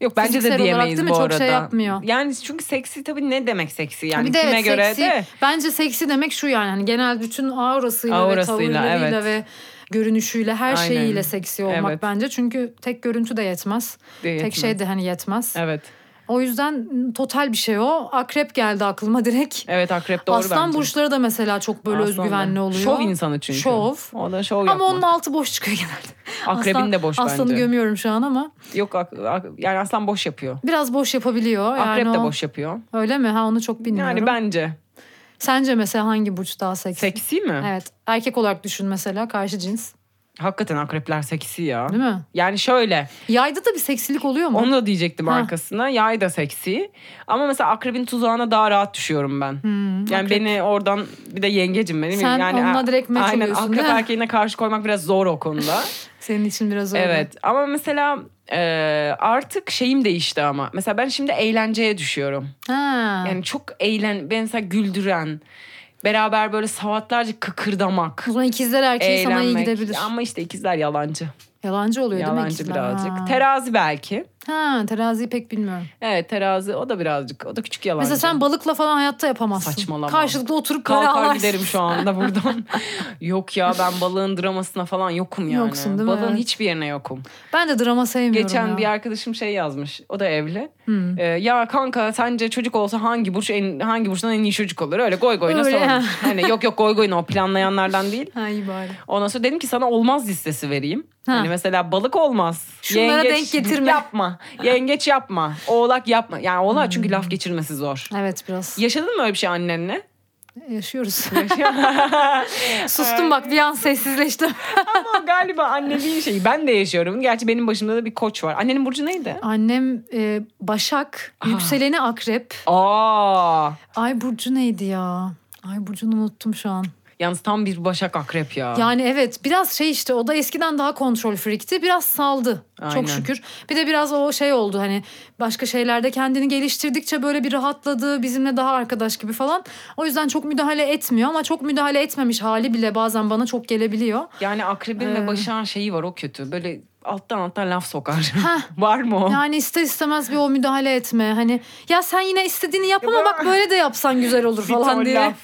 Speaker 2: Yok bence
Speaker 3: Fiziksel
Speaker 2: de
Speaker 3: olarak
Speaker 2: diyemeyiz
Speaker 3: değil mi?
Speaker 2: bu
Speaker 3: Çok
Speaker 2: arada.
Speaker 3: şey yapmıyor.
Speaker 2: Yani çünkü seksi tabii ne demek seksi yani
Speaker 3: bir de
Speaker 2: kime
Speaker 3: evet,
Speaker 2: göre
Speaker 3: seksi,
Speaker 2: de.
Speaker 3: Bence seksi demek şu yani hani genel bütün aurasıyla,
Speaker 2: Aurasıyla,
Speaker 3: ve tavırlarıyla
Speaker 2: evet.
Speaker 3: ve görünüşüyle her
Speaker 2: Aynen.
Speaker 3: şeyiyle seksi olmak
Speaker 2: Evet.
Speaker 3: bence. Çünkü tek görüntü de yetmez.
Speaker 2: de
Speaker 3: Tek
Speaker 2: yetmez.
Speaker 3: şey de hani yetmez.
Speaker 2: Evet.
Speaker 3: O yüzden total bir şey o. Akrep geldi aklıma direkt.
Speaker 2: Evet akrep doğru
Speaker 3: Aslan
Speaker 2: bence.
Speaker 3: burçları da mesela çok böyle
Speaker 2: Aslan da.
Speaker 3: özgüvenli oluyor.
Speaker 2: Şov insanı çünkü.
Speaker 3: Şov.
Speaker 2: O da şov
Speaker 3: Ama
Speaker 2: yapmak.
Speaker 3: onun altı boş çıkıyor genelde.
Speaker 2: Akrebin
Speaker 3: Aslan-
Speaker 2: de boş
Speaker 3: Aslanı
Speaker 2: bence.
Speaker 3: gömüyorum şu an ama
Speaker 2: Yok ak- ak- yani aslan boş yapıyor.
Speaker 3: biraz boş yapabiliyor.
Speaker 2: Akrep
Speaker 3: yani
Speaker 2: de
Speaker 3: o-
Speaker 2: boş yapıyor.
Speaker 3: Öyle mi? Ha onu çok bilmiyorum.
Speaker 2: Yani bence.
Speaker 3: Sence mesela hangi burç daha seksi?
Speaker 2: Seksi mi?
Speaker 3: Evet. Erkek olarak düşün mesela karşı cins.
Speaker 2: Hakikaten akrepler seksi ya.
Speaker 3: Değil mi?
Speaker 2: Yani şöyle
Speaker 3: Yayda da bir seksilik oluyor mu?
Speaker 2: onu da diyecektim
Speaker 3: Ha.
Speaker 2: arkasına. Yay da seksi. Ama mesela akrebin tuzağına daha rahat düşüyorum ben.
Speaker 3: Hmm,
Speaker 2: Yani
Speaker 3: Akrep.
Speaker 2: beni oradan bir de yengecim benim.
Speaker 3: Sen
Speaker 2: yani,
Speaker 3: onunla direkt meç
Speaker 2: Aynen
Speaker 3: oluyorsun,
Speaker 2: akrep
Speaker 3: değil mi?
Speaker 2: erkeğine karşı koymak biraz zor o konuda.
Speaker 3: Senin için biraz öyle.
Speaker 2: Evet ama mesela e, artık şeyim değişti ama. Mesela ben şimdi eğlenceye düşüyorum.
Speaker 3: Ha.
Speaker 2: Yani çok eğlen, ben mesela güldüren, beraber böyle saatlerce kıkırdamak.
Speaker 3: o zaman ikizler erkeği sana iyi
Speaker 2: eğlenmek.
Speaker 3: gidebilir.
Speaker 2: Ama işte ikizler yalancı.
Speaker 3: Yalancı oluyor değil mi
Speaker 2: Yalancı
Speaker 3: ikizler?
Speaker 2: birazcık.
Speaker 3: Ha.
Speaker 2: Terazi belki.
Speaker 3: ha teraziyi pek bilmiyorum.
Speaker 2: Evet terazi o da birazcık. O da küçük yalancı.
Speaker 3: Mesela sen balıkla falan hayatta yapamazsın.
Speaker 2: Saçmalama.
Speaker 3: Karşılıklı oturup para
Speaker 2: Kalkar
Speaker 3: alarsın.
Speaker 2: giderim şu anda buradan. Yok ya ben balığın dramasına falan yokum yani.
Speaker 3: Yoksun değil mi?
Speaker 2: Balığın
Speaker 3: Evet.
Speaker 2: hiçbir yerine yokum.
Speaker 3: Ben de drama sevmiyorum
Speaker 2: Geçen
Speaker 3: ya.
Speaker 2: bir arkadaşım şey yazmış. O da evli.
Speaker 3: Hmm.
Speaker 2: Ee, ya kanka sence çocuk olsa hangi burç en, hangi burçtan en iyi çocuk olur? Öyle goy goyuna
Speaker 3: Öyle.
Speaker 2: sormuş. Hani yok yok goy goyuna o planlayanlardan değil.
Speaker 3: Ha iyi bari.
Speaker 2: Ondan sonra dedim ki sana olmaz listesi vereyim.
Speaker 3: Ha.
Speaker 2: Hani mesela balık olmaz.
Speaker 3: Şunlara denk getirme.
Speaker 2: Yapma. Yengeç yapma. Oğlak yapma. Yani oğlak çünkü laf geçirmesi zor.
Speaker 3: Evet biraz
Speaker 2: Yaşadın mı öyle bir şey annenle?
Speaker 3: yaşıyoruz. Sustum bak bir an sessizleştim.
Speaker 2: Ama galiba anneliğin şeyi. Ben de yaşıyorum. Gerçi benim başımda da bir koç var. Annenin burcu neydi?
Speaker 3: Annem e, Başak, yükseleni Akrep.
Speaker 2: Aa.
Speaker 3: Ay Burcu neydi ya? Ay Burcu'nu unuttum şu an.
Speaker 2: Yalnız tam bir başak akrep ya.
Speaker 3: Yani evet biraz şey işte o da eskiden daha kontrol frikti. Biraz saldı
Speaker 2: Aynen.
Speaker 3: çok şükür. Bir de biraz o şey oldu hani başka şeylerde kendini geliştirdikçe böyle bir rahatladı. Bizimle daha arkadaş gibi falan. O yüzden çok müdahale etmiyor ama çok müdahale etmemiş hali bile bazen bana çok gelebiliyor.
Speaker 2: Yani akrebin ve
Speaker 3: Ee.
Speaker 2: başağın şeyi var o kötü. Böyle alttan alttan laf sokar.
Speaker 3: Hah.
Speaker 2: var mı o?
Speaker 3: Yani ister istemez bir o müdahale etme. Hani ya sen yine istediğini yap ama bak böyle de yapsan güzel olur
Speaker 2: Bir ton
Speaker 3: falan diye.
Speaker 2: laf.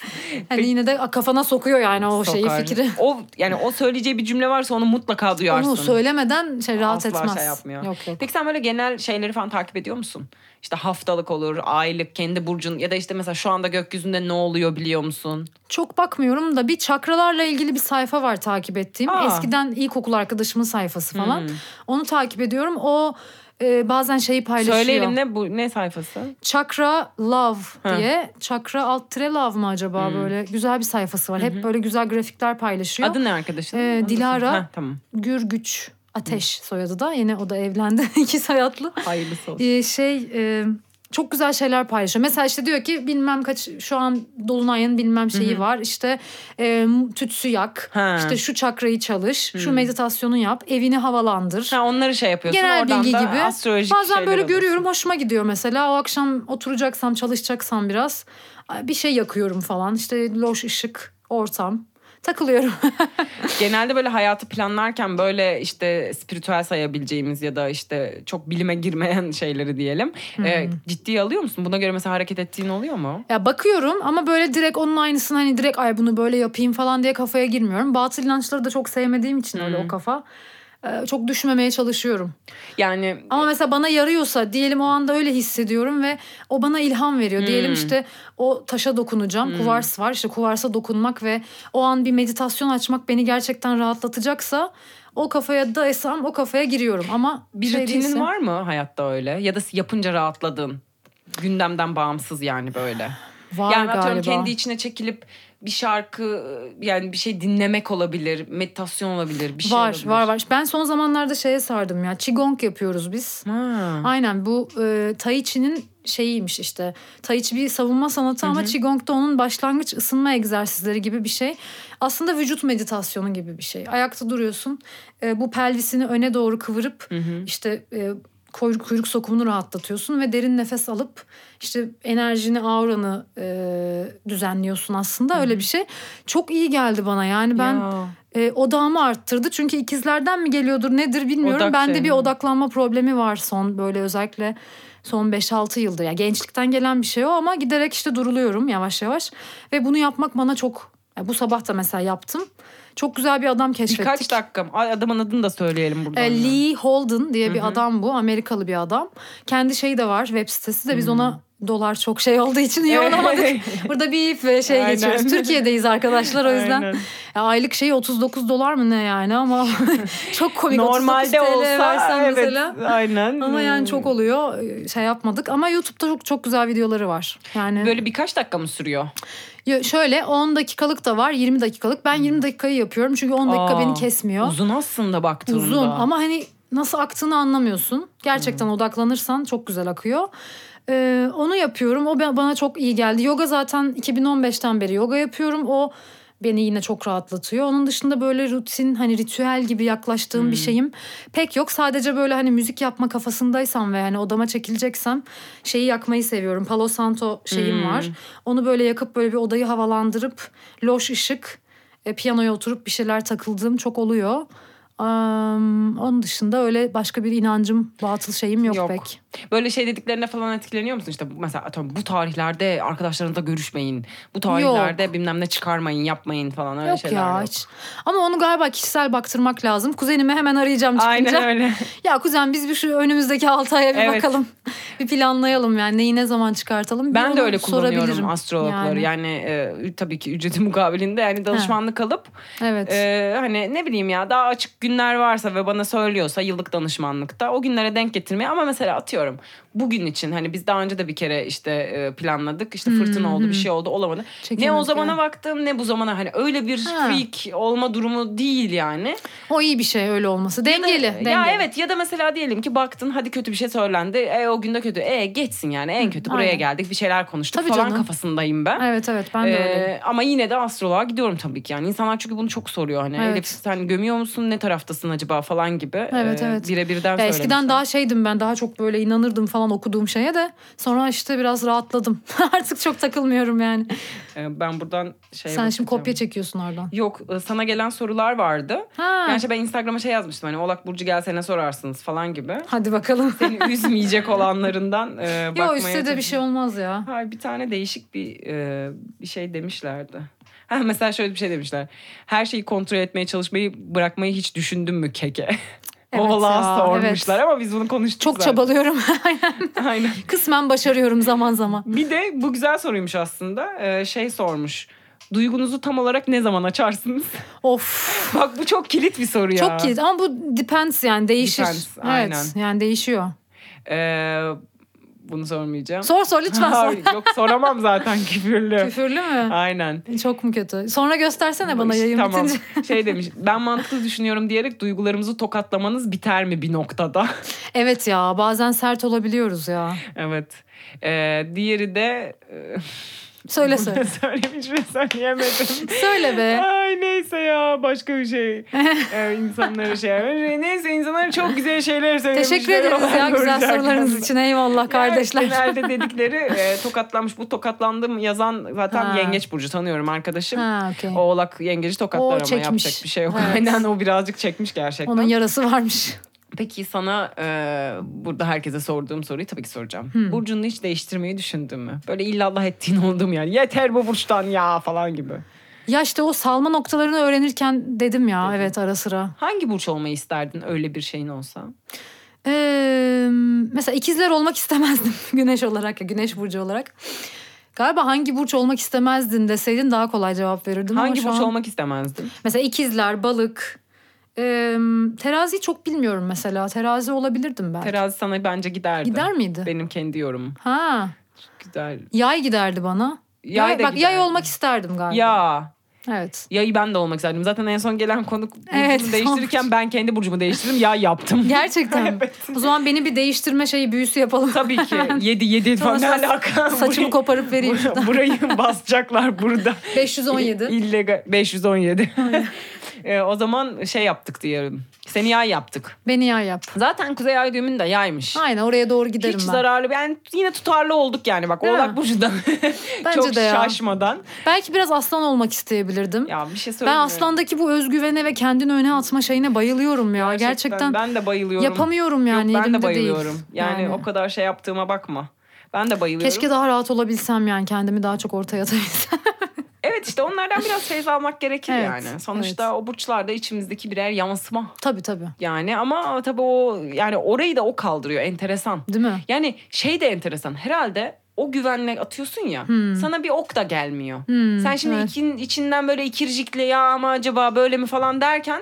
Speaker 3: Hani yine de kafana sokuyor yani o şeyi
Speaker 2: Sokar.
Speaker 3: fikri.
Speaker 2: O yani o söyleyeceği bir cümle varsa onu mutlaka duyarsın.
Speaker 3: Onu söylemeden şey rahat
Speaker 2: Asla
Speaker 3: etmez.
Speaker 2: şey yapmıyor.
Speaker 3: Yok yok.
Speaker 2: Peki sen böyle genel şeyleri falan takip ediyor musun? İşte haftalık olur, aylık, kendi burcun ya da işte mesela şu anda gökyüzünde ne oluyor biliyor musun?
Speaker 3: Çok bakmıyorum da bir çakralarla ilgili bir sayfa var takip ettiğim.
Speaker 2: Aa. Hmm.
Speaker 3: Eskiden ilkokul arkadaşımın sayfası falan. Onu takip ediyorum. O e, bazen şeyi paylaşıyor.
Speaker 2: Söyleyelim ne bu ne sayfası?
Speaker 3: Çakra Love
Speaker 2: Hı. Hmm.
Speaker 3: diye. Çakra alt tire Love mı acaba böyle? Güzel bir sayfası var. Hep böyle güzel grafikler paylaşıyor.
Speaker 2: Adı ne arkadaşın?
Speaker 3: Ee,
Speaker 2: Adı-
Speaker 3: Dilara.
Speaker 2: Heh, tamam.
Speaker 3: Gürgüç Ateş soyadı da. Yeni o da evlendi. İki hayatlı.
Speaker 2: Hayırlısı olsun.
Speaker 3: Ee, şey e, çok güzel şeyler paylaşıyor. Mesela işte diyor ki bilmem kaç şu an dolunayın bilmem şeyi var. İşte e, tütsü yak.
Speaker 2: Ha.
Speaker 3: İşte şu çakrayı çalış. Şu meditasyonu yap. Evini havalandır.
Speaker 2: Ha, onları şey yapıyorsun.
Speaker 3: Genel
Speaker 2: oradan
Speaker 3: bilgi
Speaker 2: da
Speaker 3: gibi.
Speaker 2: Astrolojik
Speaker 3: Bazen
Speaker 2: şeyler
Speaker 3: böyle
Speaker 2: alıyorsun.
Speaker 3: görüyorum hoşuma gidiyor mesela. O akşam oturacaksam çalışacaksam biraz ay, bir şey yakıyorum falan. İşte loş ışık ortam. Takılıyorum.
Speaker 2: Genelde böyle hayatı planlarken böyle işte spiritüel sayabileceğimiz ya da işte çok bilime girmeyen şeyleri diyelim. Ee, ciddiye alıyor musun? Buna göre mesela hareket ettiğin oluyor mu?
Speaker 3: Ya bakıyorum ama böyle direkt onun aynısını hani direkt ay bunu böyle yapayım falan diye kafaya girmiyorum. Batıl inançları da çok sevmediğim için öyle o kafa. Ee, Çok düşmemeye çalışıyorum.
Speaker 2: Yani
Speaker 3: Ama mesela bana yarıyorsa diyelim o anda öyle hissediyorum ve o bana ilham veriyor. Diyelim işte o taşa dokunacağım. Kuvars var. İşte kuvarsa dokunmak ve o an bir meditasyon açmak beni gerçekten rahatlatacaksa o kafaya da esam o kafaya giriyorum. Ama
Speaker 2: bir
Speaker 3: şey
Speaker 2: rutinin
Speaker 3: değilse-
Speaker 2: var mı hayatta öyle? Ya da yapınca rahatladın. Gündemden bağımsız yani böyle.
Speaker 3: Var
Speaker 2: yani atıyorum
Speaker 3: galiba.
Speaker 2: kendi içine çekilip bir şarkı yani bir şey dinlemek olabilir, meditasyon olabilir, bir şey
Speaker 3: var,
Speaker 2: olabilir.
Speaker 3: var, var. Ben son zamanlarda şeye sardım ya. Qigong yapıyoruz biz.
Speaker 2: Ha.
Speaker 3: Aynen bu e, Tai Chi'nin şeyiymiş işte. Tai Chi bir savunma sanatı ama Qigong da onun başlangıç ısınma egzersizleri gibi bir şey. Aslında vücut meditasyonu gibi bir şey. Ayakta duruyorsun. e, bu pelvisini öne doğru kıvırıp işte e, kuyruk, kuyruk sokumunu rahatlatıyorsun ve derin nefes alıp işte enerjini, auranı e, düzenliyorsun aslında öyle bir şey. Çok iyi geldi bana. Yani ben
Speaker 2: Ya.
Speaker 3: e, odağımı arttırdı. Çünkü ikizlerden mi geliyordur nedir bilmiyorum.
Speaker 2: Odak
Speaker 3: Bende
Speaker 2: şey
Speaker 3: bir
Speaker 2: mi?
Speaker 3: odaklanma problemi var son böyle özellikle son 5-6 yıldır. Ya gençlikten gelen bir şey o ama giderek işte duruluyorum yavaş yavaş. Ve bunu yapmak bana çok ya bu sabah da mesela yaptım. Çok güzel bir adam keşfettik.
Speaker 2: Birkaç dakikam. Ay, Adamın adını da söyleyelim buradan.
Speaker 3: E,
Speaker 2: ya.
Speaker 3: Lee Holden diye bir adam bu. Amerikalı bir adam. Kendi şeyi de var web sitesi de biz ona
Speaker 2: Hmm.
Speaker 3: dolar çok şey olduğu için iyi olamadık. Burada bir ve şey
Speaker 2: Aynen.
Speaker 3: geçiyoruz. Türkiye'deyiz arkadaşlar o yüzden.
Speaker 2: Aynen.
Speaker 3: Ya aylık şey 39 dolar mı ne yani ama çok komik. 39 TL
Speaker 2: Normalde olsa
Speaker 3: versen
Speaker 2: evet. Hmm.
Speaker 3: mesela.
Speaker 2: Aynen.
Speaker 3: Ama yani çok oluyor şey yapmadık ama YouTube'da çok çok güzel videoları var. Yani
Speaker 2: Böyle birkaç dakika mı sürüyor?
Speaker 3: ya şöyle 10 dakikalık da var 20 dakikalık ben 20 dakikayı yapıyorum çünkü 10 dakika
Speaker 2: Hmm. Aa,
Speaker 3: beni kesmiyor.
Speaker 2: Uzun aslında baktığında.
Speaker 3: Uzun ama hani nasıl aktığını anlamıyorsun. Gerçekten odaklanırsan çok güzel akıyor. Ee, onu yapıyorum. O ben- bana çok iyi geldi. Yoga zaten 2015'ten beri yoga yapıyorum. O beni yine çok rahatlatıyor. Onun dışında böyle rutin hani ritüel gibi yaklaştığım bir şeyim pek yok. Sadece böyle hani müzik yapma kafasındaysam ve hani odama çekileceksem şeyi yakmayı seviyorum. Palo Santo şeyim
Speaker 2: Hmm.
Speaker 3: var. Onu böyle yakıp böyle bir odayı havalandırıp loş ışık e, piyanoya oturup bir şeyler takıldığım çok oluyor. Am, onun dışında öyle başka bir inancım, batıl şeyim yok,
Speaker 2: Yok.
Speaker 3: pek.
Speaker 2: Böyle şey dediklerine falan etkileniyor musun? İşte bu- mesela atıyorum bu tarihlerde arkadaşlarınızla görüşmeyin. Bu tarihlerde bilmem ne çıkarmayın, yapmayın falan öyle
Speaker 3: Yok
Speaker 2: şeyler
Speaker 3: ya
Speaker 2: yok.
Speaker 3: hiç. Ama onu galiba kişisel baktırmak lazım. Kuzenime hemen arayacağım çıkınca.
Speaker 2: Aynen öyle.
Speaker 3: Ya kuzen biz bir şu önümüzdeki 6 aya bir
Speaker 2: Evet.
Speaker 3: bakalım. bir planlayalım yani neyi ne zaman çıkartalım. Bir
Speaker 2: Ben de
Speaker 3: onu
Speaker 2: öyle
Speaker 3: sorabilirim.
Speaker 2: kullanıyorum astrologları. Yani,
Speaker 3: Yani.
Speaker 2: e, tabii ki ücreti mukabilinde yani danışmanlık alıp
Speaker 3: Evet.
Speaker 2: e, hani ne bileyim ya daha açık günler varsa ve bana söylüyorsa yıllık danışmanlıkta o günlere denk getirmeye ama mesela atıyorum bugün için hani biz daha önce de bir kere işte e, planladık işte
Speaker 3: Hmm,
Speaker 2: fırtına oldu bir şey oldu olamadı.
Speaker 3: Çekemedik
Speaker 2: ne o
Speaker 3: ya.
Speaker 2: zamana baktım ne bu zamana hani öyle bir
Speaker 3: Ha.
Speaker 2: freak olma durumu değil yani.
Speaker 3: o iyi bir şey öyle olması.
Speaker 2: Ya da-
Speaker 3: Dengeli.
Speaker 2: Ya
Speaker 3: dengeli.
Speaker 2: evet ya da mesela diyelim ki baktın hadi kötü bir şey söylendi. E o günde kötü. E geçsin yani en kötü buraya
Speaker 3: aynen.
Speaker 2: geldik bir şeyler konuştuk
Speaker 3: Tabii
Speaker 2: falan
Speaker 3: canım.
Speaker 2: kafasındayım ben.
Speaker 3: Evet evet ben de
Speaker 2: Ee,
Speaker 3: öyleyim.
Speaker 2: ama yine de astroloğa gidiyorum tabii ki yani insanlar çünkü bunu çok soruyor hani
Speaker 3: Evet.
Speaker 2: Elif sen gömüyor musun ne taraftasın acaba falan gibi E,
Speaker 3: Evet, evet.
Speaker 2: birebirden
Speaker 3: Ya
Speaker 2: söylemişler.
Speaker 3: eskiden daha şeydim ben daha çok böyle inanırdım falan okuduğum şeye de sonra işte biraz rahatladım. Artık çok takılmıyorum yani.
Speaker 2: Ee, ben buradan şey
Speaker 3: Sen şimdi kopya çekiyorsun oradan.
Speaker 2: Yok e, sana gelen sorular vardı.
Speaker 3: Ha.
Speaker 2: Yani işte ben Instagram'a şey yazmıştım hani Oğlak Burcu gelse ne sorarsınız falan gibi.
Speaker 3: Hadi bakalım.
Speaker 2: Seni üzmeyecek olanlarından e, Şey, bakmaya
Speaker 3: Yok üstte de bir şey olmaz ya.
Speaker 2: Hayır bir tane değişik bir e, bir şey demişlerdi. Ha, mesela şöyle bir şey demişler. Her şeyi kontrol etmeye çalışmayı bırakmayı hiç düşündün mü keke?
Speaker 3: Evet
Speaker 2: Oğlağa
Speaker 3: ya,
Speaker 2: sormuşlar ama biz bunu konuştuk
Speaker 3: Çok
Speaker 2: zaten.
Speaker 3: çabalıyorum.
Speaker 2: Aynen.
Speaker 3: Kısmen başarıyorum zaman zaman.
Speaker 2: Bir de bu güzel soruymuş aslında. Ee, şey sormuş. Duygunuzu tam olarak ne zaman açarsınız?
Speaker 3: Of.
Speaker 2: Bak bu çok kilit bir soru ya.
Speaker 3: Çok iyi ama bu depends yani değişir.
Speaker 2: Depends,
Speaker 3: evet
Speaker 2: aynen.
Speaker 3: yani değişiyor.
Speaker 2: Ee, bunu sormayacağım.
Speaker 3: Sor sor lütfen sor.
Speaker 2: Yok soramam zaten küfürlü.
Speaker 3: Küfürlü mü?
Speaker 2: Aynen.
Speaker 3: Çok mu kötü? Sonra göstersene bana
Speaker 2: İşte
Speaker 3: yayın
Speaker 2: tamam.
Speaker 3: bitince.
Speaker 2: Şey demiş ben mantıklı düşünüyorum diyerek duygularımızı tokatlamanız biter mi bir noktada?
Speaker 3: Evet ya bazen sert olabiliyoruz ya.
Speaker 2: evet. Ee, diğeri de e,
Speaker 3: Söyle
Speaker 2: bunu
Speaker 3: söyle.
Speaker 2: söylemiş ve söyleyemedim.
Speaker 3: söyle be.
Speaker 2: Ay neyse ya başka bir şey. ee, insanlara şey yapmış. Neyse insanlara çok güzel şeyler söylemişler.
Speaker 3: Teşekkür ederiz ya
Speaker 2: Olan
Speaker 3: güzel
Speaker 2: görecek
Speaker 3: sorularınız
Speaker 2: aslında.
Speaker 3: için. Eyvallah
Speaker 2: Evet,
Speaker 3: kardeşler.
Speaker 2: genelde dedikleri e, tokatlanmış. Bu tokatlandım yazan zaten
Speaker 3: Ha.
Speaker 2: yengeç burcu tanıyorum arkadaşım.
Speaker 3: Ha, okey.
Speaker 2: O oğlak yengeci tokatlar
Speaker 3: O
Speaker 2: ama
Speaker 3: çekmiş.
Speaker 2: yapacak bir şey yok.
Speaker 3: Evet.
Speaker 2: Aynen o birazcık çekmiş gerçekten.
Speaker 3: Onun yarası varmış.
Speaker 2: Peki sana e, burada herkese sorduğum soruyu tabii ki soracağım.
Speaker 3: Hmm.
Speaker 2: Burcunu hiç değiştirmeyi düşündün mü? Böyle illallah ettiğin oldum yani. Yeter bu burçtan ya falan gibi.
Speaker 3: Ya işte o salma noktalarını öğrenirken dedim ya evet ara sıra.
Speaker 2: Hangi burç olmayı isterdin öyle bir şeyin olsa?
Speaker 3: Ee, mesela ikizler olmak istemezdim güneş olarak ya güneş burcu olarak. Galiba hangi burç olmak istemezdin deseydin daha kolay cevap verirdim. ama
Speaker 2: Hangi
Speaker 3: şu
Speaker 2: burç
Speaker 3: an-
Speaker 2: olmak istemezdin?
Speaker 3: Mesela ikizler, balık, ee, terazi çok bilmiyorum mesela. Terazi olabilirdim ben.
Speaker 2: Terazi sana bence giderdi.
Speaker 3: Gider miydi?
Speaker 2: Benim kendi yorumum.
Speaker 3: Ha,
Speaker 2: Gider.
Speaker 3: yay giderdi bana.
Speaker 2: Yay da
Speaker 3: bak yay
Speaker 2: giderdi.
Speaker 3: olmak isterdim galiba.
Speaker 2: Ya.
Speaker 3: Evet.
Speaker 2: Yayı ben de olmak isterdim. Zaten en son gelen konuk burcumu
Speaker 3: Evet,
Speaker 2: değiştirirken ben kendi burcumu değiştirdim. Ya yaptım.
Speaker 3: Gerçekten.
Speaker 2: Evet.
Speaker 3: O zaman beni bir değiştirme şeyi büyüsü yapalım.
Speaker 2: Tabii ki. Yedi yedi falan ne
Speaker 3: Sonra saç-
Speaker 2: alaka?
Speaker 3: Saçımı
Speaker 2: Burayı-
Speaker 3: koparıp vereyim.
Speaker 2: Burayı basacaklar burada.
Speaker 3: 517.
Speaker 2: İllega 517. Ee, o zaman şey yaptık diyelim. Seni yay yaptık.
Speaker 3: Beni yay yap.
Speaker 2: Zaten Kuzey Ay düğümün de yaymış.
Speaker 3: Aynen oraya doğru giderim
Speaker 2: Hiç
Speaker 3: ben.
Speaker 2: zararlı. Yani yine tutarlı olduk yani. Bak
Speaker 3: Değil mi?
Speaker 2: Oğlak Burcu'dan
Speaker 3: Bence
Speaker 2: çok
Speaker 3: de ya.
Speaker 2: şaşmadan.
Speaker 3: Belki biraz aslan olmak isteyebilirdim.
Speaker 2: Ya bir şey
Speaker 3: ben
Speaker 2: söyleyeyim mi?
Speaker 3: aslandaki bu özgüvene ve kendini öne atma şeyine bayılıyorum ya. Gerçekten,
Speaker 2: Ben de bayılıyorum.
Speaker 3: yapamıyorum yani.
Speaker 2: Yok, ben
Speaker 3: elimde
Speaker 2: de
Speaker 3: değil.
Speaker 2: bayılıyorum. Yani, o kadar şey yaptığıma bakma. Ben de bayılıyorum.
Speaker 3: Keşke daha rahat olabilsem yani kendimi daha çok ortaya atabilsem.
Speaker 2: Evet işte onlardan biraz feyz almak gerekir
Speaker 3: Evet,
Speaker 2: yani. Sonuçta o burçlarda içimizdeki birer yansıma
Speaker 3: tabii tabii.
Speaker 2: yani ama tabii o yani orayı da o kaldırıyor enteresan.
Speaker 3: Değil mi?
Speaker 2: Yani şey de enteresan herhalde o güvenle atıyorsun ya sana bir ok da gelmiyor.
Speaker 3: Hmm,
Speaker 2: Sen şimdi
Speaker 3: evet.
Speaker 2: ikin- içinden böyle ikircikle ya ama acaba böyle mi falan derken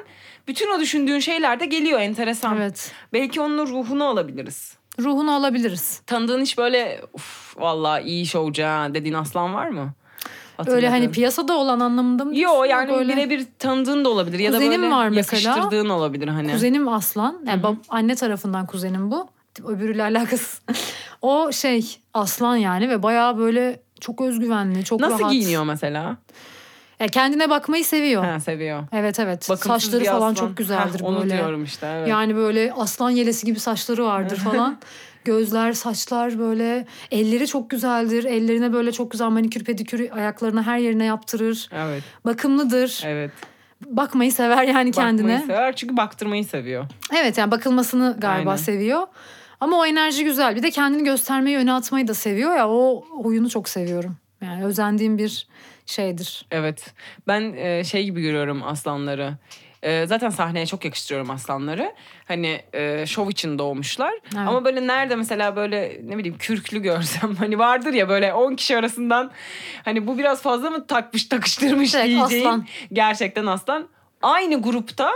Speaker 2: bütün o düşündüğün şeyler de geliyor enteresan.
Speaker 3: Evet.
Speaker 2: Belki onun ruhunu alabiliriz.
Speaker 3: Ruhunu alabiliriz.
Speaker 2: Tanıdığın hiç böyle uf vallahi iyi şovcu ha dediğin aslan var mı?
Speaker 3: Öyle hani
Speaker 2: Hatırladığın.
Speaker 3: piyasada olan anlamında mı?
Speaker 2: Yo
Speaker 3: diyorsun,
Speaker 2: yani
Speaker 3: böyle-
Speaker 2: birebir tanıdığın da olabilir ya da
Speaker 3: Kuzenim
Speaker 2: böyle
Speaker 3: var mesela.
Speaker 2: yakıştırdığın olabilir hani.
Speaker 3: Kuzenim aslan. Yani bab- anne tarafından kuzenim bu. Öbürüyle alakası. O şey aslan yani ve bayağı böyle çok özgüvenli, çok
Speaker 2: Nasıl
Speaker 3: rahat.
Speaker 2: giyiniyor mesela?
Speaker 3: Ya kendine bakmayı seviyor.
Speaker 2: Ha, seviyor.
Speaker 3: Evet evet.
Speaker 2: Bakımsız
Speaker 3: Saçları
Speaker 2: bir
Speaker 3: falan
Speaker 2: aslan.
Speaker 3: çok güzeldir
Speaker 2: Ha, onu
Speaker 3: böyle.
Speaker 2: diyorum işte. Evet.
Speaker 3: Yani böyle aslan yelesi gibi saçları vardır falan. Gözler, saçlar böyle. Elleri çok güzeldir. Ellerine böyle çok güzel manikür pedikür ayaklarına her yerine yaptırır.
Speaker 2: Evet,
Speaker 3: Bakımlıdır.
Speaker 2: evet.
Speaker 3: Bakmayı sever yani kendine.
Speaker 2: Bakmayı sever çünkü baktırmayı seviyor.
Speaker 3: Evet yani bakılmasını galiba
Speaker 2: Aynen.
Speaker 3: seviyor. Ama o enerji güzel. Bir de kendini göstermeyi öne atmayı da seviyor ya. O huyunu çok seviyorum. Yani özendiğim bir şeydir.
Speaker 2: Evet. Ben e, şey gibi görüyorum aslanları. E, zaten sahneye çok yakıştırıyorum aslanları. Hani e, şov için doğmuşlar.
Speaker 3: Evet.
Speaker 2: Ama böyle nerede mesela böyle ne bileyim kürklü görsem hani vardır ya böyle 10 kişi arasından hani bu biraz fazla mı takmış takıştırmış
Speaker 3: Direkt
Speaker 2: diyeceğin
Speaker 3: aslan.
Speaker 2: gerçekten aslan. Aynı grupta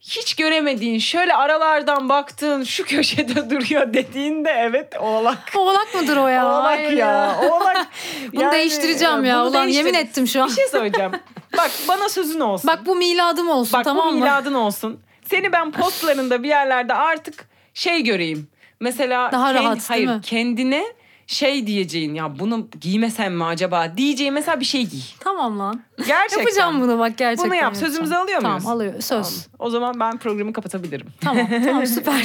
Speaker 2: hiç göremediğin şöyle aralardan baktığın şu köşede duruyor dediğinde evet oğlak.
Speaker 3: Oğlak mıdır o ya?
Speaker 2: oğlak
Speaker 3: Hayır
Speaker 2: ya. Oğlak.
Speaker 3: Bunu
Speaker 2: Yani, e,
Speaker 3: değiştireceğim ya.
Speaker 2: bunu
Speaker 3: Ulan yemin
Speaker 2: değiştir-
Speaker 3: ettim şu an.
Speaker 2: bir şey söyleyeceğim. Bak bana sözün olsun.
Speaker 3: Bak bu miladım olsun
Speaker 2: Bak
Speaker 3: tamam
Speaker 2: bu
Speaker 3: mı?
Speaker 2: miladın olsun. Seni ben postlarında bir yerlerde artık şey göreyim. Mesela
Speaker 3: Daha rahat, değil
Speaker 2: hayır
Speaker 3: mi?
Speaker 2: kendine şey diyeceğin ya bunu giymesem mi acaba diyeceğin mesela bir şey giy.
Speaker 3: Tamam lan.
Speaker 2: Gerçekten.
Speaker 3: Yapacağım bunu bak gerçekten.
Speaker 2: Bunu yap.
Speaker 3: yapacağım.
Speaker 2: Sözümüzü alıyor muyuz?
Speaker 3: Tamam alıyor.
Speaker 2: Tamam.
Speaker 3: Söz.
Speaker 2: O zaman ben programı kapatabilirim.
Speaker 3: Tamam tamam süper.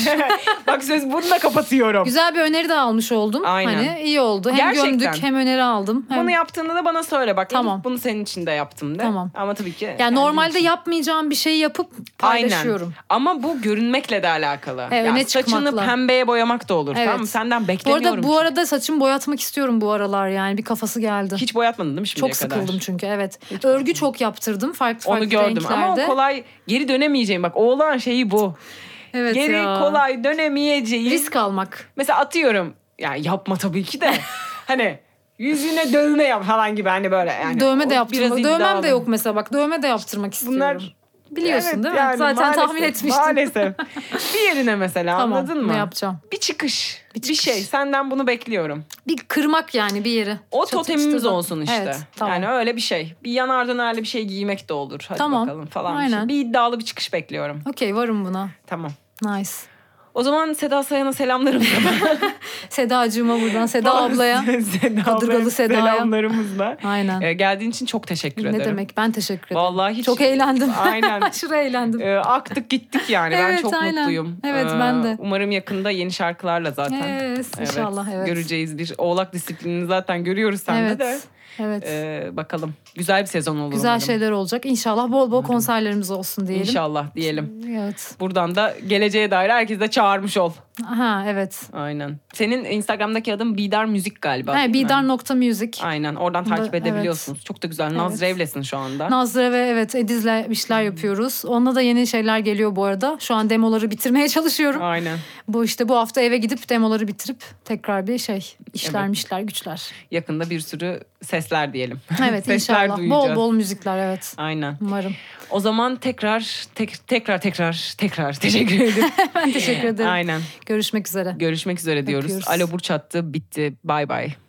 Speaker 2: Bak söz bunu da kapatıyorum.
Speaker 3: Güzel bir öneri de almış oldum.
Speaker 2: Aynen.
Speaker 3: Hani iyi oldu. Hem
Speaker 2: Gerçekten.
Speaker 3: gömdük hem öneri aldım. Hem...
Speaker 2: Bunu yaptığında da bana söyle bak.
Speaker 3: Tamam.
Speaker 2: Elif, Bunu senin için de yaptım de.
Speaker 3: Tamam.
Speaker 2: Ama tabii ki.
Speaker 3: yani
Speaker 2: kendim
Speaker 3: normalde
Speaker 2: için.
Speaker 3: yapmayacağım bir şey yapıp paylaşıyorum.
Speaker 2: Aynen. Ama bu görünmekle de alakalı.
Speaker 3: Evet, öne
Speaker 2: saçını
Speaker 3: çıkmakla.
Speaker 2: pembeye boyamak da olur.
Speaker 3: Evet.
Speaker 2: Tamam mı? Senden
Speaker 3: Bu
Speaker 2: beklemiyorum.
Speaker 3: arada bu
Speaker 2: çünkü.
Speaker 3: arada saçımı boyatmak istiyorum bu aralar yani bir kafası geldi.
Speaker 2: Hiç boyatmadın değil mi şimdiye
Speaker 3: çok
Speaker 2: kadar?
Speaker 3: sıkıldım çünkü evet. Örgü çok yaptırdım farklı farklı
Speaker 2: Onu gördüm ama
Speaker 3: renklerde.
Speaker 2: o kolay geri dönemeyeceğim. Bak oğlan şeyi bu.
Speaker 3: evet
Speaker 2: geri
Speaker 3: ya.
Speaker 2: kolay dönemeyeceğim.
Speaker 3: Risk almak.
Speaker 2: Mesela atıyorum. Yani yapma tabii ki de. hani yüzüne dövme yap falan gibi hani böyle. Yani
Speaker 3: dövme de
Speaker 2: o
Speaker 3: yaptırmak.
Speaker 2: biraz
Speaker 3: Dövmem
Speaker 2: iddialı.
Speaker 3: de yok mesela bak dövme de yaptırmak istiyorum.
Speaker 2: Bunlar
Speaker 3: Biliyorsun
Speaker 2: Evet,
Speaker 3: değil mi?
Speaker 2: yani
Speaker 3: Zaten
Speaker 2: maalesef,
Speaker 3: tahmin etmiştim.
Speaker 2: Maalesef. bir yerine mesela
Speaker 3: Tamam
Speaker 2: anladın
Speaker 3: bunu
Speaker 2: mı?
Speaker 3: yapacağım.
Speaker 2: Bir çıkış, bir,
Speaker 3: çıkış.
Speaker 2: şey. Senden bunu bekliyorum.
Speaker 3: Bir kırmak yani bir yeri.
Speaker 2: O
Speaker 3: Çatı
Speaker 2: totemimiz
Speaker 3: çıtı da-
Speaker 2: olsun işte.
Speaker 3: Evet, tamam.
Speaker 2: Yani öyle bir şey. Bir yanar dönerli bir şey giymek de olur. Hadi
Speaker 3: Tamam,
Speaker 2: bakalım falan. bir
Speaker 3: aynen.
Speaker 2: şey. Bir iddialı bir çıkış bekliyorum.
Speaker 3: Okey varım buna.
Speaker 2: Tamam.
Speaker 3: Nice.
Speaker 2: O zaman Seda Sayan'a selamlarımızla.
Speaker 3: Sedacığıma buradan Seda ablaya.
Speaker 2: Seda
Speaker 3: Kadırgalı
Speaker 2: ablaya
Speaker 3: Seda'ya.
Speaker 2: Selamlarımızla.
Speaker 3: Aynen.
Speaker 2: Ee, geldiğin için çok teşekkür
Speaker 3: ne
Speaker 2: ederim.
Speaker 3: demek ben teşekkür ederim.
Speaker 2: Vallahi hiç.
Speaker 3: Çok eğlendim.
Speaker 2: Aynen.
Speaker 3: Aşırı eğlendim.
Speaker 2: Ee, aktık gittik yani. ben
Speaker 3: Evet,
Speaker 2: çok
Speaker 3: aynen.
Speaker 2: mutluyum. Ee,
Speaker 3: Evet, ben de.
Speaker 2: Umarım yakında yeni şarkılarla zaten.
Speaker 3: Yes, inşallah evet.
Speaker 2: Göreceğiz bir oğlak disiplinini zaten görüyoruz sende
Speaker 3: evet.
Speaker 2: de.
Speaker 3: Evet.
Speaker 2: Ee, bakalım. Güzel bir sezon olur
Speaker 3: Güzel
Speaker 2: umarım.
Speaker 3: şeyler olacak. İnşallah bol bol konserlerimiz olsun diyelim.
Speaker 2: İnşallah diyelim.
Speaker 3: Evet.
Speaker 2: Buradan da geleceğe dair herkes de çağırmış ol.
Speaker 3: Ha evet.
Speaker 2: Aynen. Senin Instagram'daki adın Bidar Müzik galiba.
Speaker 3: Ha,
Speaker 2: değil mi?
Speaker 3: Bidar.music.
Speaker 2: Aynen oradan
Speaker 3: Bunda-
Speaker 2: takip edebiliyorsunuz. Çok da güzel. Naz
Speaker 3: Evet.
Speaker 2: Revles'in şu anda.
Speaker 3: Nazlı'ya ve evet Ediz'le bir şeyler yapıyoruz. Onunla da yeni şeyler geliyor bu arada. Şu an demoları bitirmeye çalışıyorum.
Speaker 2: Aynen.
Speaker 3: Bu işte bu hafta eve gidip demoları bitirip tekrar bir şey işlermişler güçler.
Speaker 2: Yakında bir sürü sesler diyelim.
Speaker 3: Evet
Speaker 2: Sesler
Speaker 3: inşallah. Bol
Speaker 2: duyacağız.
Speaker 3: bol müzikler evet.
Speaker 2: Aynen.
Speaker 3: Umarım.
Speaker 2: O zaman tekrar tek, tekrar tekrar tekrar teşekkür ederim.
Speaker 3: Ben teşekkür ederim.
Speaker 2: Aynen.
Speaker 3: Görüşmek üzere.
Speaker 2: Görüşmek üzere diyoruz.
Speaker 3: Öpüyoruz.
Speaker 2: Alo Burç attı. Bitti. Bay bay.